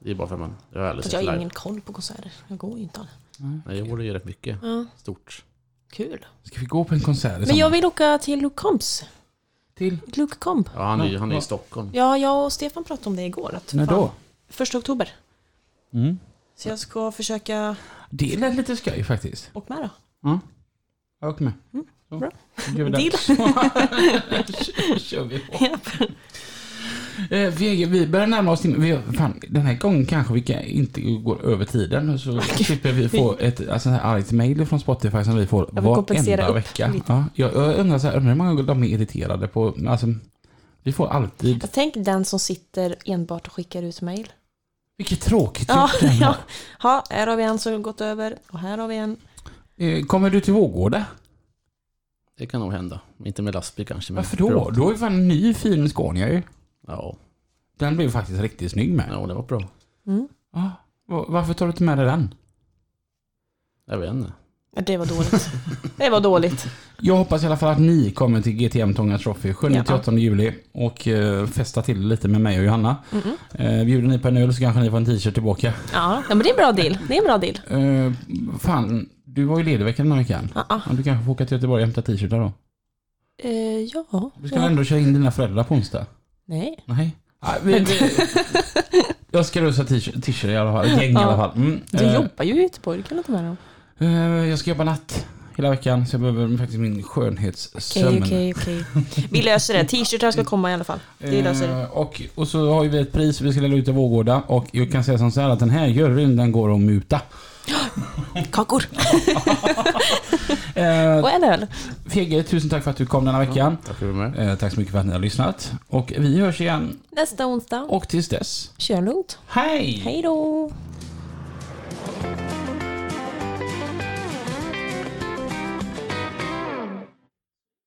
det är bara för att man, jag har aldrig fast sett jag har live. ingen koll på konserter. Jag går ju inte alla. Nej, jag borde ju rätt mycket. Ja, Stort. kul. Ska vi gå på en konsert i Men jag sommar? vill åka till Luke Combs. Till? Luke Combs. Ja, han är ju han är i Ja. Stockholm. Ja, jag och Stefan pratade om det igår. Att När fan, då? Första oktober. Så jag ska försöka Det lät lite skoj faktiskt. åka med då. Jag åker med. Så. bra. Då gör vi det. Deal. Kör- [laughs] kör vi på. Eh, vi, vi börjar närma oss in, vi, fan, Den här gången kanske vi kan inte går över tiden så slipper vi [laughs] få ett alltså, här argt mail från Spotify som vi får Jag vill kompensera varenda upp vecka. lite. Ja, jag, jag undrar så här, undrar hur många gånger de är irriterade på... Alltså, vi får [laughs] alltid... Jag tänk den som sitter enbart och skickar ut mejl. Vilket tråkigt Ja, gjort det här. ja. ja, här har vi en som gått över och här har vi en. Eh, Kommer du till Vårgårda? Det kan nog hända. Inte med lastbil kanske. Men Varför då? Du har ju fan en ny fin Scania ju. Ja, Den blev faktiskt riktigt snygg med. ja, det var bra. Mm. Ja. Va- Varför tar du inte med dig den? Jag vet inte. Ja, Det var [laughs] dåligt. Det var dåligt. Jag hoppas i alla fall att ni kommer till GTM Tånga Trophy 7-8 juli och eh, festar till lite med mig och Johanna. Eh, bjuder ni på en öl så kanske ni får en t-shirt tillbaka. Ja, ja, men det är en bra deal. Det är en bra deal. Eh, fan, du var ju ledig veckan den här veckan. Ja, Ja, Du kanske får åka till Göteborg och hämta t-shirtar då? ja. Eh, ja. Vi ska ändå köra in dina föräldrar på onsdag? Nej. Nej. Nej, vi, vi, jag ska rusa t-shirt t-shirt i alla fall, ett gäng i Ja. alla fall. Mm. [laughs] Du Eh, jobbar ju i Göteborg, du kan inte med dem. Eh, Jag ska jobba natt hela veckan så jag behöver faktiskt min skönhetssömn. Okej, okej, okej. Vi löser det. T-shirtar ska komma i alla fall. Det löser det. Eh, och, och så har ju vi ett pris vi ska dela ut i Vårgårda och jag kan säga som så här att den här juryn den går att muta. Kakor! Eh, Och en öl. Fege, tusen tack för att du kom denna veckan. Tack för att du var med. Eh, tack så mycket för att ni har lyssnat. Och vi hörs igen Nästa onsdag. och tills dess, Kör lugnt. hej! Hej då!